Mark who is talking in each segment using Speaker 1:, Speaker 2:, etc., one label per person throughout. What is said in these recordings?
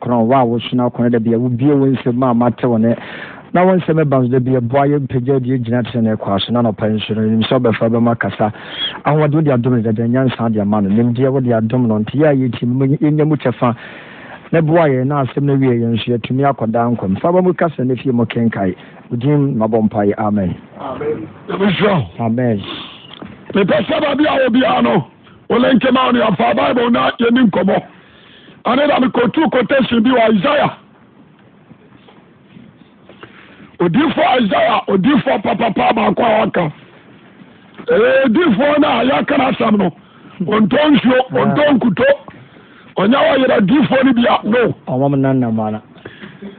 Speaker 1: korɔn wɔ a wosona kwan da bia wobie wo nsɛm a matew ne na wo nsɛm ba nso da bi ɛboa yɛmpagya deɛ gyina tene kɔ so na nɔpa nso no nim sɛ wobɛfa bɛma kasa ahoɔde wode adom no dada nyansa de ama no nimdeɛ wode adom no nti yɛ a yɛtim yɛnya mu kyɛfa na boa yɛn na asɛm no wie yɛn so yɛatumi akɔdaa nkɔm fa ba mu kasa no fie mu kenkae wodin mabɔ mpaeɛ amen
Speaker 2: yɛbɛhyira wo.
Speaker 1: amen
Speaker 2: mepɛ sɛ baabi a wɔbiara no wolenkema wo neamfa bible na yɛni nkɔmmɔ ane da mekotuu quotation bi wɔ isaia odiifoɔ isaia odiifoɔ papapa baako a waka Eh, odiifoɔ no a yɛaka no asɛm no ɔntɔ nsuo ɔntɔ nkuto ɔnyɛ wɔyera diifoɔ no bia no
Speaker 1: ɔmam na nnamana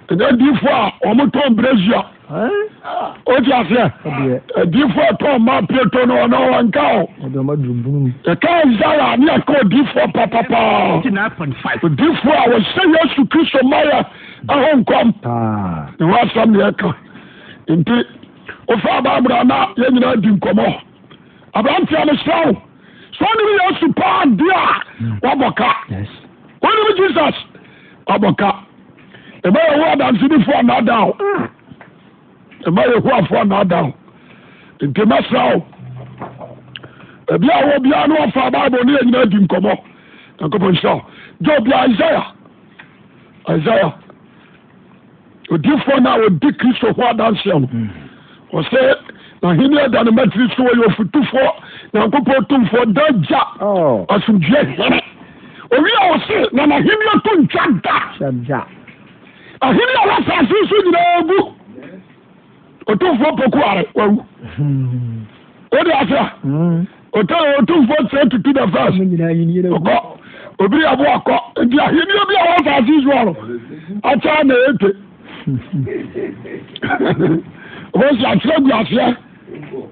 Speaker 2: ɛnyɛ diifoɔ a ɔmotɔn brazia ɔti aseɛ
Speaker 1: Ɛdeɛ.
Speaker 2: diifoɔ tɔn e ma pieto no ɔna wɔnka o
Speaker 1: ɔde ɔma durubunu mu
Speaker 2: yɛka isaia ne yɛka odiifoɔ papapaa odiifoɔ a wɔhyɛ yesu kristo mayɛ ɛho nkɔm
Speaker 1: paa
Speaker 2: ne ho asɛm ne yɛka nti wofa baabra na yɛn nyinaa di nkɔmmɔ aberanteɛ no hyɛ wo sɛ wonim yesu paa deɛ a woabɔ ka
Speaker 1: yes
Speaker 2: wonim jesus woabɔ ka ɛma yɛho adansedifoɔ anaada wo ɛma yɛhoafoɔ anaada wo nti mɛsra wo ebi a wɔ biara ne wɔfa bible ne yɛn nyinaa di nkɔmmɔ nyankopɔn nhyɛ wo gya obi isaia isaia odiifoɔ no a wɔdi kristo ho adanseɛ no
Speaker 1: Mm.
Speaker 2: ɔsɛ nahenni ada ne matiri so wɔyɛ ɔfotufoɔ nyankopɔn tomfoɔ da gya
Speaker 1: oh
Speaker 2: asomdwue hene owi a ɔse na nahenni ato ntwa da
Speaker 1: shagya
Speaker 2: ahenni a wɔasase so nyinaa gu ɔtomfoɔ pokuare wawu
Speaker 1: Hmm.
Speaker 2: wode asɛ
Speaker 1: Hmm.
Speaker 2: ɔtɛ ɔtomfoɔ sɛ tutu the first
Speaker 1: Ɔmo nyinaa yi ni yɛrɛ wu.
Speaker 2: ɔkɔ obiri abo akɔ nti ahenni bi a wɔn asase so ɔno akyɛ na ete wɔn si akyerɛ gu aseɛ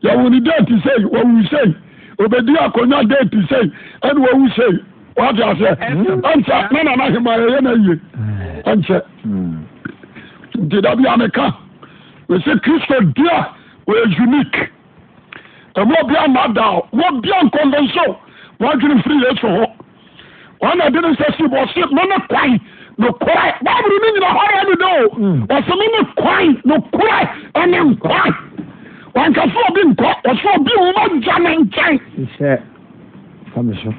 Speaker 2: yɛwò ni deeti sei wɔwu sei obedi akonnwa deeti sei ɛni wɔwu sei wɔate aseɛ ɛnkyɛ na nana ahema yɛyɛ na yie ɛnkyɛ
Speaker 1: Hmm.
Speaker 2: nti dabi ameka wɔsɛ kristo deɛ wɔyɛ unique ɛmu obi ama da o mu obi ankɔnkɔnso wɔadwene firi yesu ho wɔn de ne nsa si bɔ ɔsi mo ne kwan no kwan baabulu ne nyina hɔ yɛ ne do o
Speaker 1: Mm.
Speaker 2: ɔsi mo ne kwan no kwan ɛne nkwan wankasa obi nkɔ ɔsi obi wo ma gya ne nkyɛn
Speaker 1: sɛ fa me so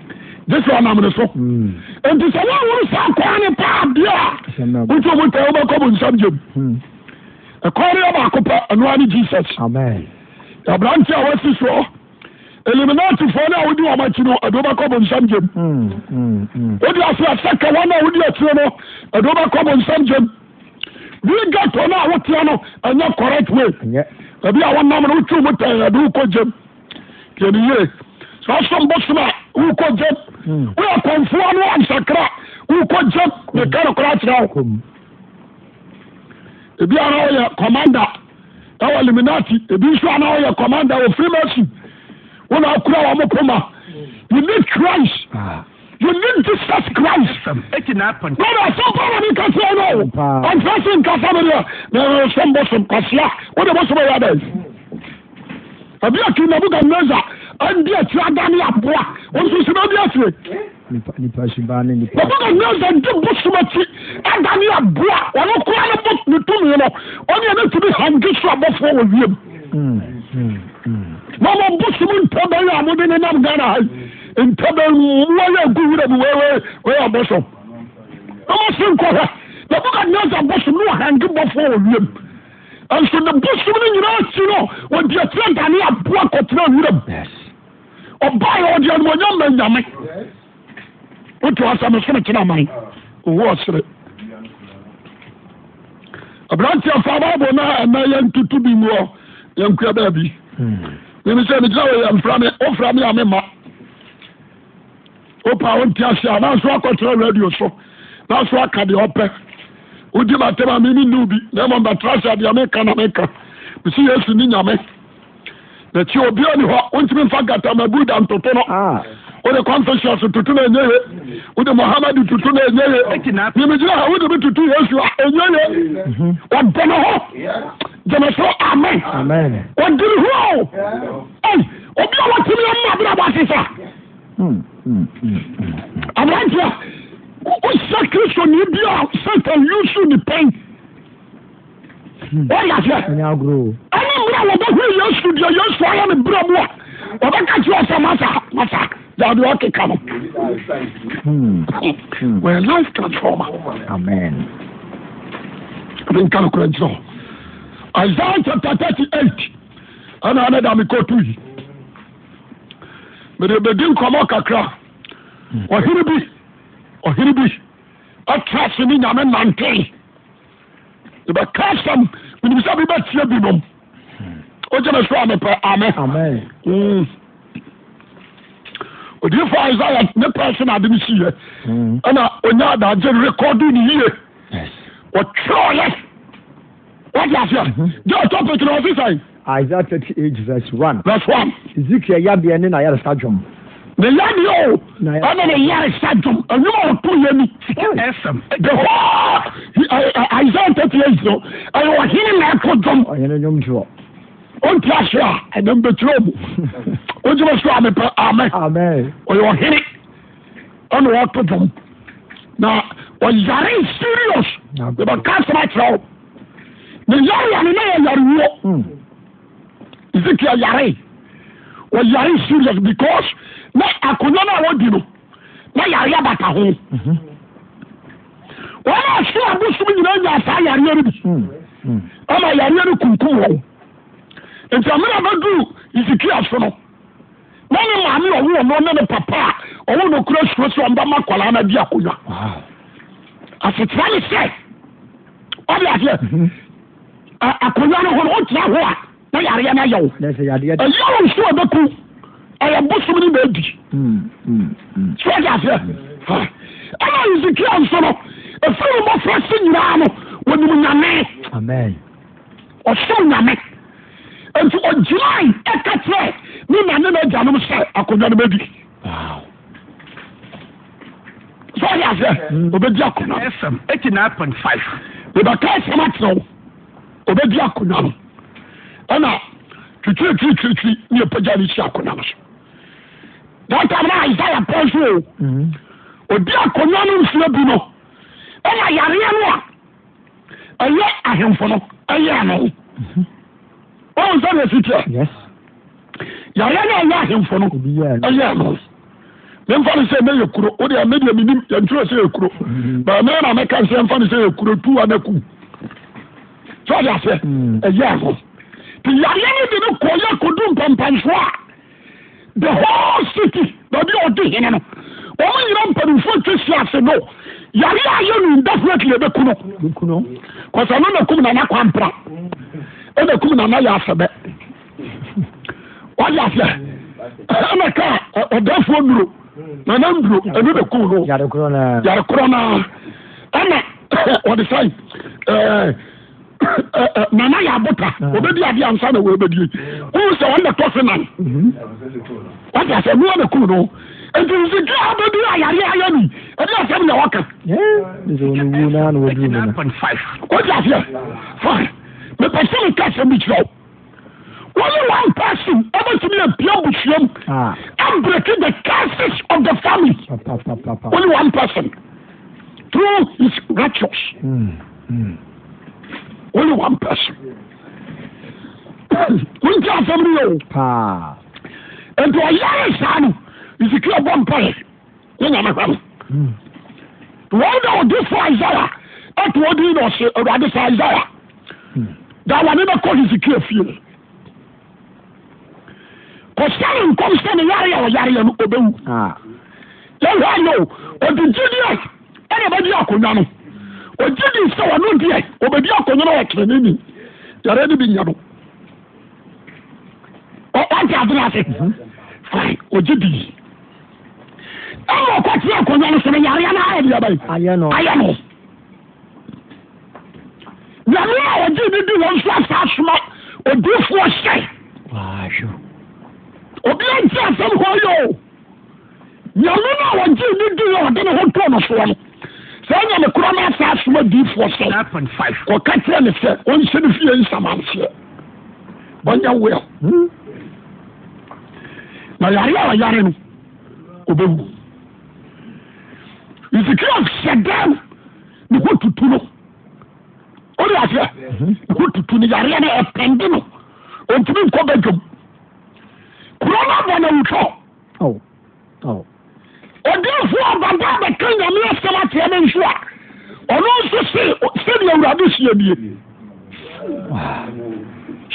Speaker 2: jesu ɔnam ne so
Speaker 1: Hmm.
Speaker 2: nti sɛ wɔn wɔn sa kwan ne paa bia
Speaker 1: Sɛ na-
Speaker 2: wotu omi tɛ wɔbɛkɔ bo nsam gyem
Speaker 1: Hmm.
Speaker 2: ɛkwan ne yɛ baako pɛ ɛnua ne jesus.
Speaker 1: amen
Speaker 2: aberante a wasi soɔ eliminatifoɔ no a wodi wɔn akyi no ɛde wobɛkɔ bonsam gyam
Speaker 1: Hmm. Hmm. Hmm.
Speaker 2: wode aseasɛ ka wɔn a wodi akyire no ɛde wobɛkɔ bonsam gyam wigato no a woteɛ no ɛnyɛ correct way
Speaker 1: ɛnyɛ
Speaker 2: ɛbi a wɔnam no wotwiw mu tɛn ɛde wokɔ gyam tiɛne yie saa som bosom a wokɔ gyam
Speaker 1: Mm.
Speaker 2: woyɛ kɔmfoɔ no ansakra wokɔ gyam meka no kora akyerɛ wo
Speaker 1: kom
Speaker 2: ebi ara wɔyɛ commander ɛwɔ eliminati ebi nso ara wɔyɛ commander wɔ freemason wɔn akura wɔn mo poma you need christ
Speaker 1: Ah.
Speaker 2: you need jesus christ lọ́dọ̀ àtúntò wọn ni kásí ọ̀nà o
Speaker 1: Ampa.
Speaker 2: àǹfààní nkásá mi rẹ̀ bẹ̀rẹ̀ sọ́n bọ́sùn kàṣíà wọ́n dẹ̀ bọ́sùn bẹ̀rẹ̀ bẹ̀rẹ̀ ẹ̀bí ẹ̀kí Nebuchadnezzar ẹ̀ndí ẹ̀kí adáni àbúrà wọ́n tún sinmi ẹ̀bí ẹ̀kí
Speaker 1: nipa nipa suba ne nipa
Speaker 2: Nebuchadnezzar ẹ̀ndí bọ́sùn ẹ̀kí adáni àbúrà wọ́n kúrò ní bọ́sùn ní túnmí lọ wọ́n yẹn ní tìbí hàngí sọ àbọ̀fọ́ wọ̀ wíyẹn.
Speaker 1: Hmm. Hmm. Hmm.
Speaker 2: mama bosom ntɔbɛn a mode ne nam ghana ha ntɔbɛn wɔyɛ gu wura bi wɔyɛ wɔyɛ ɔbɔsom mama se nkɔ hɔ nebukadnezar bosom ne wɔhange bɔfoɔ wɔ wiem ɛnso ne bosom no nyinaa si no wɔde atirɛ dane aboa kɔtena wuram
Speaker 1: yes
Speaker 2: ɔbaeɛ ɔde animonyam ma nyame wotu asɛm so no kyena man ɔwɔ ɔsere aberanteɛ fa bible na ɛna yɛntutu bi mu hɔ yɛnkua baabi
Speaker 1: Hmm.
Speaker 2: mímu sẹ nìkyẹn wòye nfura mi ó fura mi à mi ma ó pa àwọn ntí ase à náà sọ akọtẹrẹ rédíò so náà sọ akadé ọpẹ ó di bàtẹ ma mi mi nù bi náà mọ bàtẹ ase àdìyà mi kà nà mi kà mi sì yẹ sùn ní nyàmé n'ekyi obi ẹni hɔ ó ntumi nfa gàtà mà bú dà ntutu nọ
Speaker 1: ah
Speaker 2: ó di confucius tutu náà ẹnyẹ yẹ ó di muhammadu tutu náà ẹnyẹ yẹ mímu gyina ha ó di mi tutu yẹsu a ẹnyẹ yẹ ọdẹ ni hɔ jẹmẹsọ amen
Speaker 1: amen
Speaker 2: ɔdiri hɔ o obi a watumi ɔmo abira bɔ asesa
Speaker 1: Hmm. Hmm. Hmm. Hmm.
Speaker 2: aberanteɛ wohyɛ kristo ni bi a sɛta can use to the pain. wọ́n yà sẹ́
Speaker 1: ɛnyɛ agorɔ
Speaker 2: ẹni mìíràn wọ́n bá hu yẹn sùn díẹ̀ yẹn sùn ayé ni bírọ̀ mu a wọ́n bá kà kí ọ̀sán masa masa yàrá ọ̀ kíkà mọ́.
Speaker 1: Hmm.
Speaker 2: wọ́n yẹ life transformer.
Speaker 1: amen
Speaker 2: Ɛbi nka no kora nkyerɛ hɔ. Isaiah chapter thirty eight ɛna ɛna da mi kootu yi. Mede bedi nkɔmɔ kakra. Ɔhene bi ɔhene bi ɔtra ase ne nyame nantee. Ebɛka asɛm minimisɛ bi bɛtia bi nom. Ogye me so amepɛ amɛ.
Speaker 1: amen
Speaker 2: Odiyifo Hmm. Isaiah ne pɛɛ so na ade no siiɛ.
Speaker 1: Hmm.
Speaker 2: Ɛna onya adagye rekɔdu ne yie.
Speaker 1: yes
Speaker 2: ɔtwerɛɔyɛ wode aseɛ gye topic na ɔse sɛe
Speaker 1: isaiah thirty eight verse one
Speaker 2: verse one
Speaker 1: ezekiel yadeɛ ne n'ayaresa dwom
Speaker 2: ne yadeɛ o
Speaker 1: Na yɛ-
Speaker 2: ɛne ne yare sa dwom ɛnwuma a ɔto yɛ ni the whole I- I- Isaiah thirty eight no ɛyɛ ɔhene na ɛto dwom
Speaker 1: ɔyɛ ne nnwomtoɔ
Speaker 2: ɔnti aseɛ a ɛnam bɛkyerɛ mu wogyeme so a oh, mepɛ amɛ
Speaker 1: amen
Speaker 2: ɔyɛ ɔhene ɛne ɔto dwom na ɔyare serious
Speaker 1: Na-
Speaker 2: yɛbɛka asɛm akyerɛ wo ne yareɛ no na yɛyarewuo
Speaker 1: Hmm.
Speaker 2: ezekiel yare ɔyare serious because na akonnwa no a wɔdi no na yare abata ho
Speaker 1: Mm-hmm.
Speaker 2: wɔn a ɔso abosom nyinaa nya saa yareɛ no bi
Speaker 1: Hmm. Hmm.
Speaker 2: ama yareɛ no kunkum wɔn nti amena bɛduru ezekiel so no na ne maame a ɔwo ɔno ne ne papa a ɔwo no kura suro sɛ ɔmba ma kwalaa no adi akonnwa
Speaker 1: wow
Speaker 2: asetena ne sɛ ɔde aseɛ
Speaker 1: Mhm.
Speaker 2: a- akonnwa no ho no wotena ho a na yareɛ no ayɛ wo
Speaker 1: na sɛ yadeɛ
Speaker 2: ɛyɛ wo nso a bɛku ɛyɛ bosom no bɛadi
Speaker 1: Hmm. Hmm. Hmm.
Speaker 2: sọ́jà fẹ́ ẹ̀ma ezekiel nsọ́nọ́ efiri mbọ́ fúrẹ́sì nyinaa no wọnìmù nyame
Speaker 1: amen
Speaker 2: ọ̀sùn nyame nti ọ̀gyinaì ẹ̀ka kyerẹ́ ní nane na ẹ̀gya nom sẹ́ akonnwa no bẹ́bi
Speaker 1: wow
Speaker 2: sọ́jà fẹ́ ọbẹ̀di akonnwa no
Speaker 3: FM 89.5.
Speaker 2: ìbàkà ẹ̀sẹ̀ má kyerẹ́ wọ ọbẹ̀di akonnwa no ẹ̀na titiri titiri titiri ní ẹ̀pẹ̀gya ní ìṣe akonnwa no so dọ́tà mi náà àyíká yà pẹ́ so o.
Speaker 1: Hmm.
Speaker 2: obi akonnwa no nsia bi no ɛna yareɛ no a ɛyɛ ahemfo no ɛyɛ ano ɔn sɛ na ɛsitiɛ
Speaker 1: yes
Speaker 2: yareɛ no a ɛyɛ ahemfo no
Speaker 1: obi yɛ no
Speaker 2: ɛyɛ ano memfa no sɛ mɛyɛ kuro wode a medeɛ menim yɛntwerɛ sɛ yɛ kuro
Speaker 1: Mhm.
Speaker 2: ba mɛ na mɛka sɛ ɛmfa no sɛ yɛ kuro tu a na ku sɛ ɔde asɛ
Speaker 1: Mm.
Speaker 2: ɛyɛ ano nti yareɛ no de no kɔyɛ kɔdu mpampansoɔ a the whole city baabi a ɔde hene no wɔn nyinaa mpanimfoɔ twe si ase no yareɛ a yɛ no indefinitely ɛbɛku no
Speaker 1: kuno
Speaker 2: kɔsa no na kum nana kwampra ɛna kum nana yɛ asɛbɛ wade aseɛ ɛna ka ɔ- ɔdafoɔ duro nana nduro ɛno na kum no
Speaker 1: yare korɔ na
Speaker 2: yare korɔ no ɛna ɔde sɛe ɛɛ, ɛ- ɛ- nana yɛ abota obɛdi adeɛ ansa na wɔbɛdie wohu sɛ ɔnna tɔ se nan
Speaker 1: Mm-hmm.
Speaker 2: wade aseɛ no na kum no nti nsikiri a wobɛdi ayareɛ ayɛ ni ɛde asɛm na wɔka
Speaker 1: ɛɛ nisɛ wɔn wu na na wɔduru mu no
Speaker 3: 89.5.
Speaker 2: wọ́n ti fine mepɛ sɛ mi ka sɛ mi kyerɛ o wɔn yɛ one person ɔbɛtumi yɛ pia busuam
Speaker 1: Ah.
Speaker 2: abiriki the curses of the family
Speaker 1: papapapapa.
Speaker 2: wɔn yɛ one person through his rituals
Speaker 1: Hmm. Hmm.
Speaker 2: wɔn yɛ one person wɔn ti asɛm ni yɛ o
Speaker 1: paa
Speaker 2: nti ɔyare saa no ezekiel bɔ mpaeɛ ne nyame hwɛ no
Speaker 1: Hmm.
Speaker 2: wɔn na ɔde fo isaia ɛto ɔde yi na ɔhyɛ awurade sɛ isaia
Speaker 1: Hmm.
Speaker 2: dawane bɛkɔ hesekia fie mu kɔsane nkɔm sɛ ne yare a ɔyareɛ no ɔbɛwu
Speaker 1: ah
Speaker 2: yɛhwɛ no ɔde gyideɛ ɛna bɛdi akonnwa no ɔgyidi sɛ wɔno deɛ ɔbɛdi akonnwa no ɔkyerɛ ne ni yare no bi nya no ɔte adena ase fine ɔgyidi ɛna ɔkɔtena akonnwa no so no yareɛ no ayɛ deɛ bɛyɛ
Speaker 1: ayɛ no
Speaker 2: ayɛ no nyame a ɔgye ne di wɔn so asa asoma odiifoɔ hyɛ
Speaker 1: waahwɛ
Speaker 2: obi nti asɛm hɔ yɛ o nyame no a ɔgye ne di yɛ ɔde ne ho tɔɔ no soɔ no saa nyame korɔ no asa asoma diifoɔ hyɛ
Speaker 3: 9.5.
Speaker 2: ɔka kyerɛ ne sɛ ɔnhyɛ no fie nsamanseɛ ɔnyɛ wea
Speaker 1: Hmm.
Speaker 2: na yare a ɔyare no ɔbɛwu nsikia hyɛ dan ne ho tutu no ode aseɛ ne ho tutu no yareɛ no ɛpɛnde no ɔntumi nkɔ badwom kuro no aba na wutɔ
Speaker 1: Oh. Oh.
Speaker 2: ɔdinfo ababa bɛka nyame asɛm ateɛ no nso a ɔno nso se sɛdeɛ awurade sie nie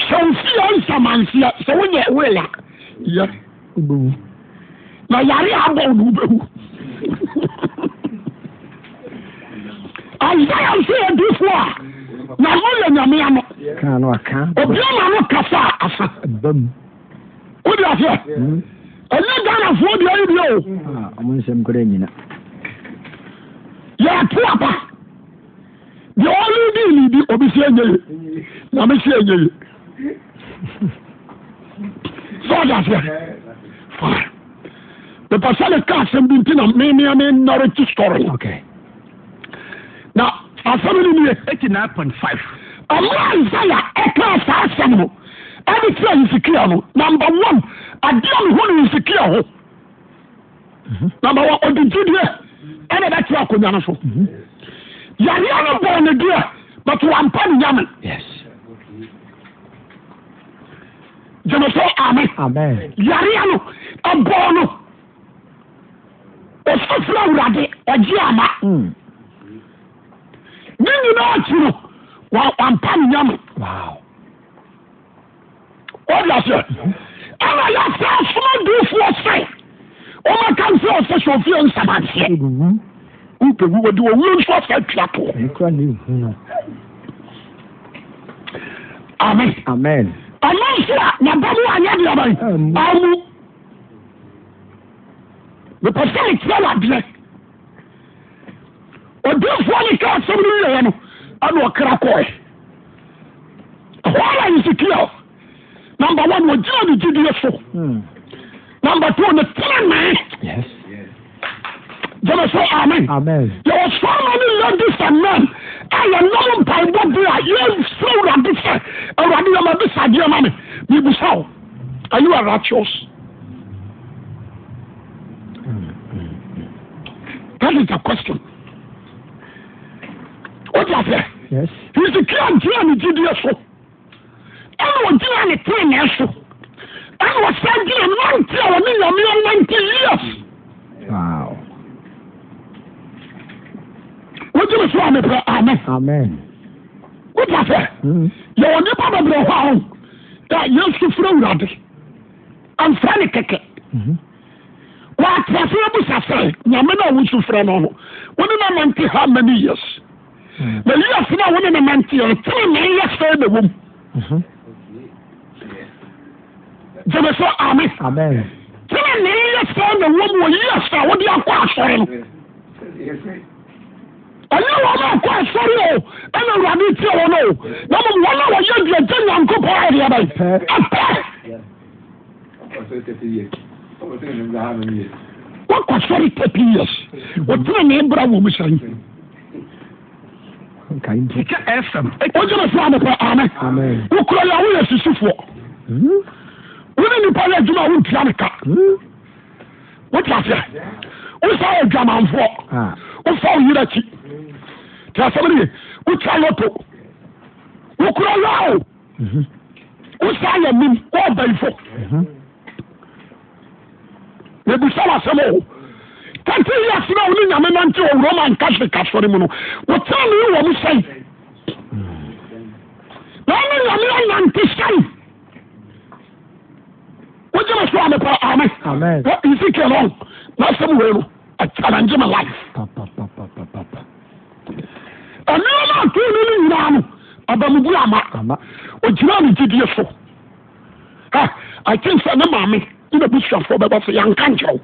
Speaker 2: sɛ wofie nsamanseɛ sɛ wonyɛ wela yɛ
Speaker 1: Wobɛwu.
Speaker 2: na yare a abɔ wo ne wobɛwu isaia nso yɛ difo a na ɔyɛ nyame ano
Speaker 1: Kaa no aka.
Speaker 2: obia ma no kasa a asa
Speaker 1: Bam.
Speaker 2: wode aseɛ
Speaker 1: Hmm.
Speaker 2: ɛnyɛ ghanafoɔ deɛ yi deɛ o
Speaker 1: Ah, ɔmo nsɛm koraa nyina.
Speaker 2: yɛto apa deɛ ɔne di nidi obi sɛ ɛnyɛ ye na me sɛ ɛnyɛ ye sɛ ɔde aseɛ Fine. mepɛ sɛ ne ka asɛm bi nti na memea me narrative story no.
Speaker 1: Okay.
Speaker 2: na asɛm no nie
Speaker 3: 89.5.
Speaker 2: ɔmra isaia ɛkaa saa asɛm no ɛde kyerɛ hesekia no number one adeɛ ne ho ne hesekia ho number one ɔde gyideɛ ɛne bɛkyerɛ akonnwa no so yareɛ no bɔɔ ne deɛ but wampa ne nyame
Speaker 1: Yes.
Speaker 2: gyeme sɛ ame
Speaker 1: Amen.
Speaker 2: yareɛ no ɛbɔɔ no ɔsofrɛ awurade ɔgye ama
Speaker 1: Mm.
Speaker 2: ne nyinaa akyi no wa- wampa ne nyame
Speaker 1: Wow.
Speaker 2: wọ́n yà sẹ́ ẹ̀rọ yà sẹ́ ọ̀sùnmọ́ dùn fún ọ̀sẹ̀ ọmọ kan fún ọ̀sẹ̀ sọ̀fíà nsàmàṣẹ́
Speaker 1: Wobɛwu.
Speaker 2: nkèwú wọ́n di wọ́n wúlò nsọ́ ọ̀sẹ̀ tìyà tó
Speaker 1: Ɛyɛ koraa ne hu no.
Speaker 2: ami
Speaker 1: Amen.
Speaker 2: ọmọ nsọ́ a nàbàmú ànyá di ọmọ yìí
Speaker 1: Amen.
Speaker 2: ọmú mipasẹ́ mi tiẹ́ wà bìẹ́ ọdún fún ọmọ ìka ọ̀sẹ̀ mi yẹ yẹn no ẹnu ọ̀kẹ́rẹ́ kọ́ ẹ̀ ọ̀hún ọ̀la yìí sì kíyà number one wọ́n gyina ní jídìí so
Speaker 1: Hmm.
Speaker 2: number two ní tẹ́lẹ̀ náà.
Speaker 1: Yes.
Speaker 2: jẹmẹ sọ e. amen.
Speaker 1: Amen.
Speaker 2: yẹwọ sọọma ni ladies and men a yẹ nọrọ mpaebọ bi a yẹ sọ awurade sẹ awurade yẹ ma bi sa diẹ ma mi mi bu sa o are you a righteous? that is the question. o ti a fẹ
Speaker 1: Yes.
Speaker 2: hezekiah gyina ne gyidie so ɛna ɔgyina ne tenenee so ɛna ɔsan gyina nante a wɔne nyameɛ nante years.
Speaker 1: Wow.
Speaker 2: wogyeme so a meprɛ amen
Speaker 1: Amen.
Speaker 2: wopa sɛ
Speaker 1: Hmm.
Speaker 2: yɛwɔ nnipa bɛbrɛ hɔ a ho a yesu frɛ awurade amfra ne kɛkɛ
Speaker 1: Mhm.
Speaker 2: waatrase abusa sɛ nyame no a wosu frɛ no no wone no mante ha many years
Speaker 1: Hmm.
Speaker 2: na years no a wone no manteɛ tenenee yɛ sɛ na wom
Speaker 1: Mhm.
Speaker 2: gyeme so amen
Speaker 1: Amen.
Speaker 2: tenenee yɛ sɛ na wom wɔ years a wode akɔ asɔre no ɛnyɛ wɔn a kɔ asɔre o ɛna awurade tie wɔn o na mmom wɔn a wɔyɛ aduagya nyankopɔn adeɛ bɛn
Speaker 1: Ɛpɛ.
Speaker 2: ɛpɛ wakɔ asɔre thirty years wɔtena ne bra wɔ mu sɛn
Speaker 1: Nkae mpo.
Speaker 3: Sika FM.
Speaker 2: wogyina so anopɛ ame
Speaker 1: Amen.
Speaker 2: wokura yɛ woyɛ sisifoɔ
Speaker 1: Hmm.
Speaker 2: wone nnipa yɛ adwuma a wontua ne ka
Speaker 1: Hmm.
Speaker 2: wote aseɛ wosa yɛ adwamanfoɔ
Speaker 1: Ah.
Speaker 2: wofa wo yerɛ akyi nti asɛm no ye wotua lɔto wokura yɛo
Speaker 1: Mhm.
Speaker 2: wosa yɛ nim wɔɔbaifo
Speaker 1: Mhm.
Speaker 2: mebusa wo asɛm o tante yɛ asena wo ne nyame nante wɔ wuroma nka hye kasɔre mu no wotena ne wɔ mu sɛn na ɔne nyame anante sɛn wogye me so amepa ame
Speaker 1: Amen.
Speaker 2: na ezekiel ɔn na asɛm wei no achallange me life
Speaker 1: Pa pa pa pa pa pa pa.
Speaker 2: ɛnoɔma ato no no nyinaa no abamubu ama
Speaker 1: Ama.
Speaker 2: ogyina ne gyidie so Ha, i think sɛ ne maame ne nabusuafoɔ bɛbɛ so yɛnka nkyerɛw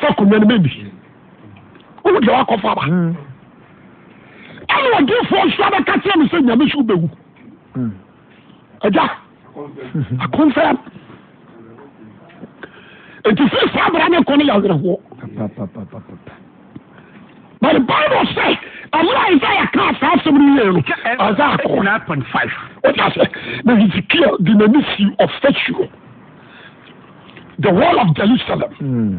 Speaker 2: sɛ akonnwa no bɛbi wohu deɛ wakɔfa ba
Speaker 1: Hmm.
Speaker 2: ɛne ɔdefoɔ nso abɛka kyerɛ me sɛ nyame so wobɛwu
Speaker 1: Hmm.
Speaker 2: agya akonfɛm nti fii saa bra ne kɔ no yɛwerɛhoɔ
Speaker 1: Pa pa pa pa pa pa.
Speaker 2: but the bible sɛ ɛmera isaia kaa saa asɛm no yɛɛ no ɔsa akɔ
Speaker 3: 9.5.
Speaker 2: wotasɛ na hezekiel de n'ani si ɔfasuo the wall of jerusalem
Speaker 1: Hmm.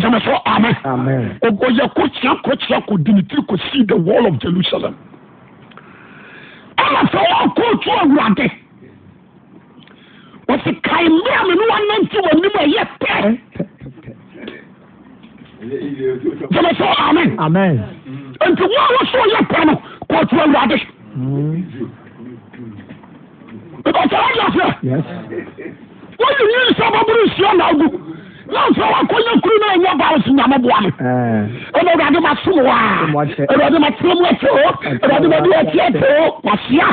Speaker 2: jẹmẹ sọ amen.
Speaker 1: amen
Speaker 2: ɔgɔyɛ kɔkyea kɔkyea kɔdini tiri kɔsii the wall of jerusalem ɛna sɛ wɔakɔɔtu awurade wɔsi kae mmea me ne wanante w'anim a ɛyɛ pɛ gyama sɛ amen
Speaker 1: amen
Speaker 2: enti wo a wɔsɛ ɔyɛ pɛ no kɔɔtu awurade
Speaker 1: Hmm.
Speaker 2: because ɛwɔyɛ sɛ
Speaker 1: yes
Speaker 2: wɔyɛ nyi sɛ baboro nsia na agu na sɛ wakɔnyɛ kuru na ɛnyɛ bawo so nyameboa no
Speaker 1: ɛɛ
Speaker 2: ɛna awurade ma som wa
Speaker 1: mo akyɛ.
Speaker 2: awurade ma tena mu ɛte o awurade ma de ɛte ɛte o wasia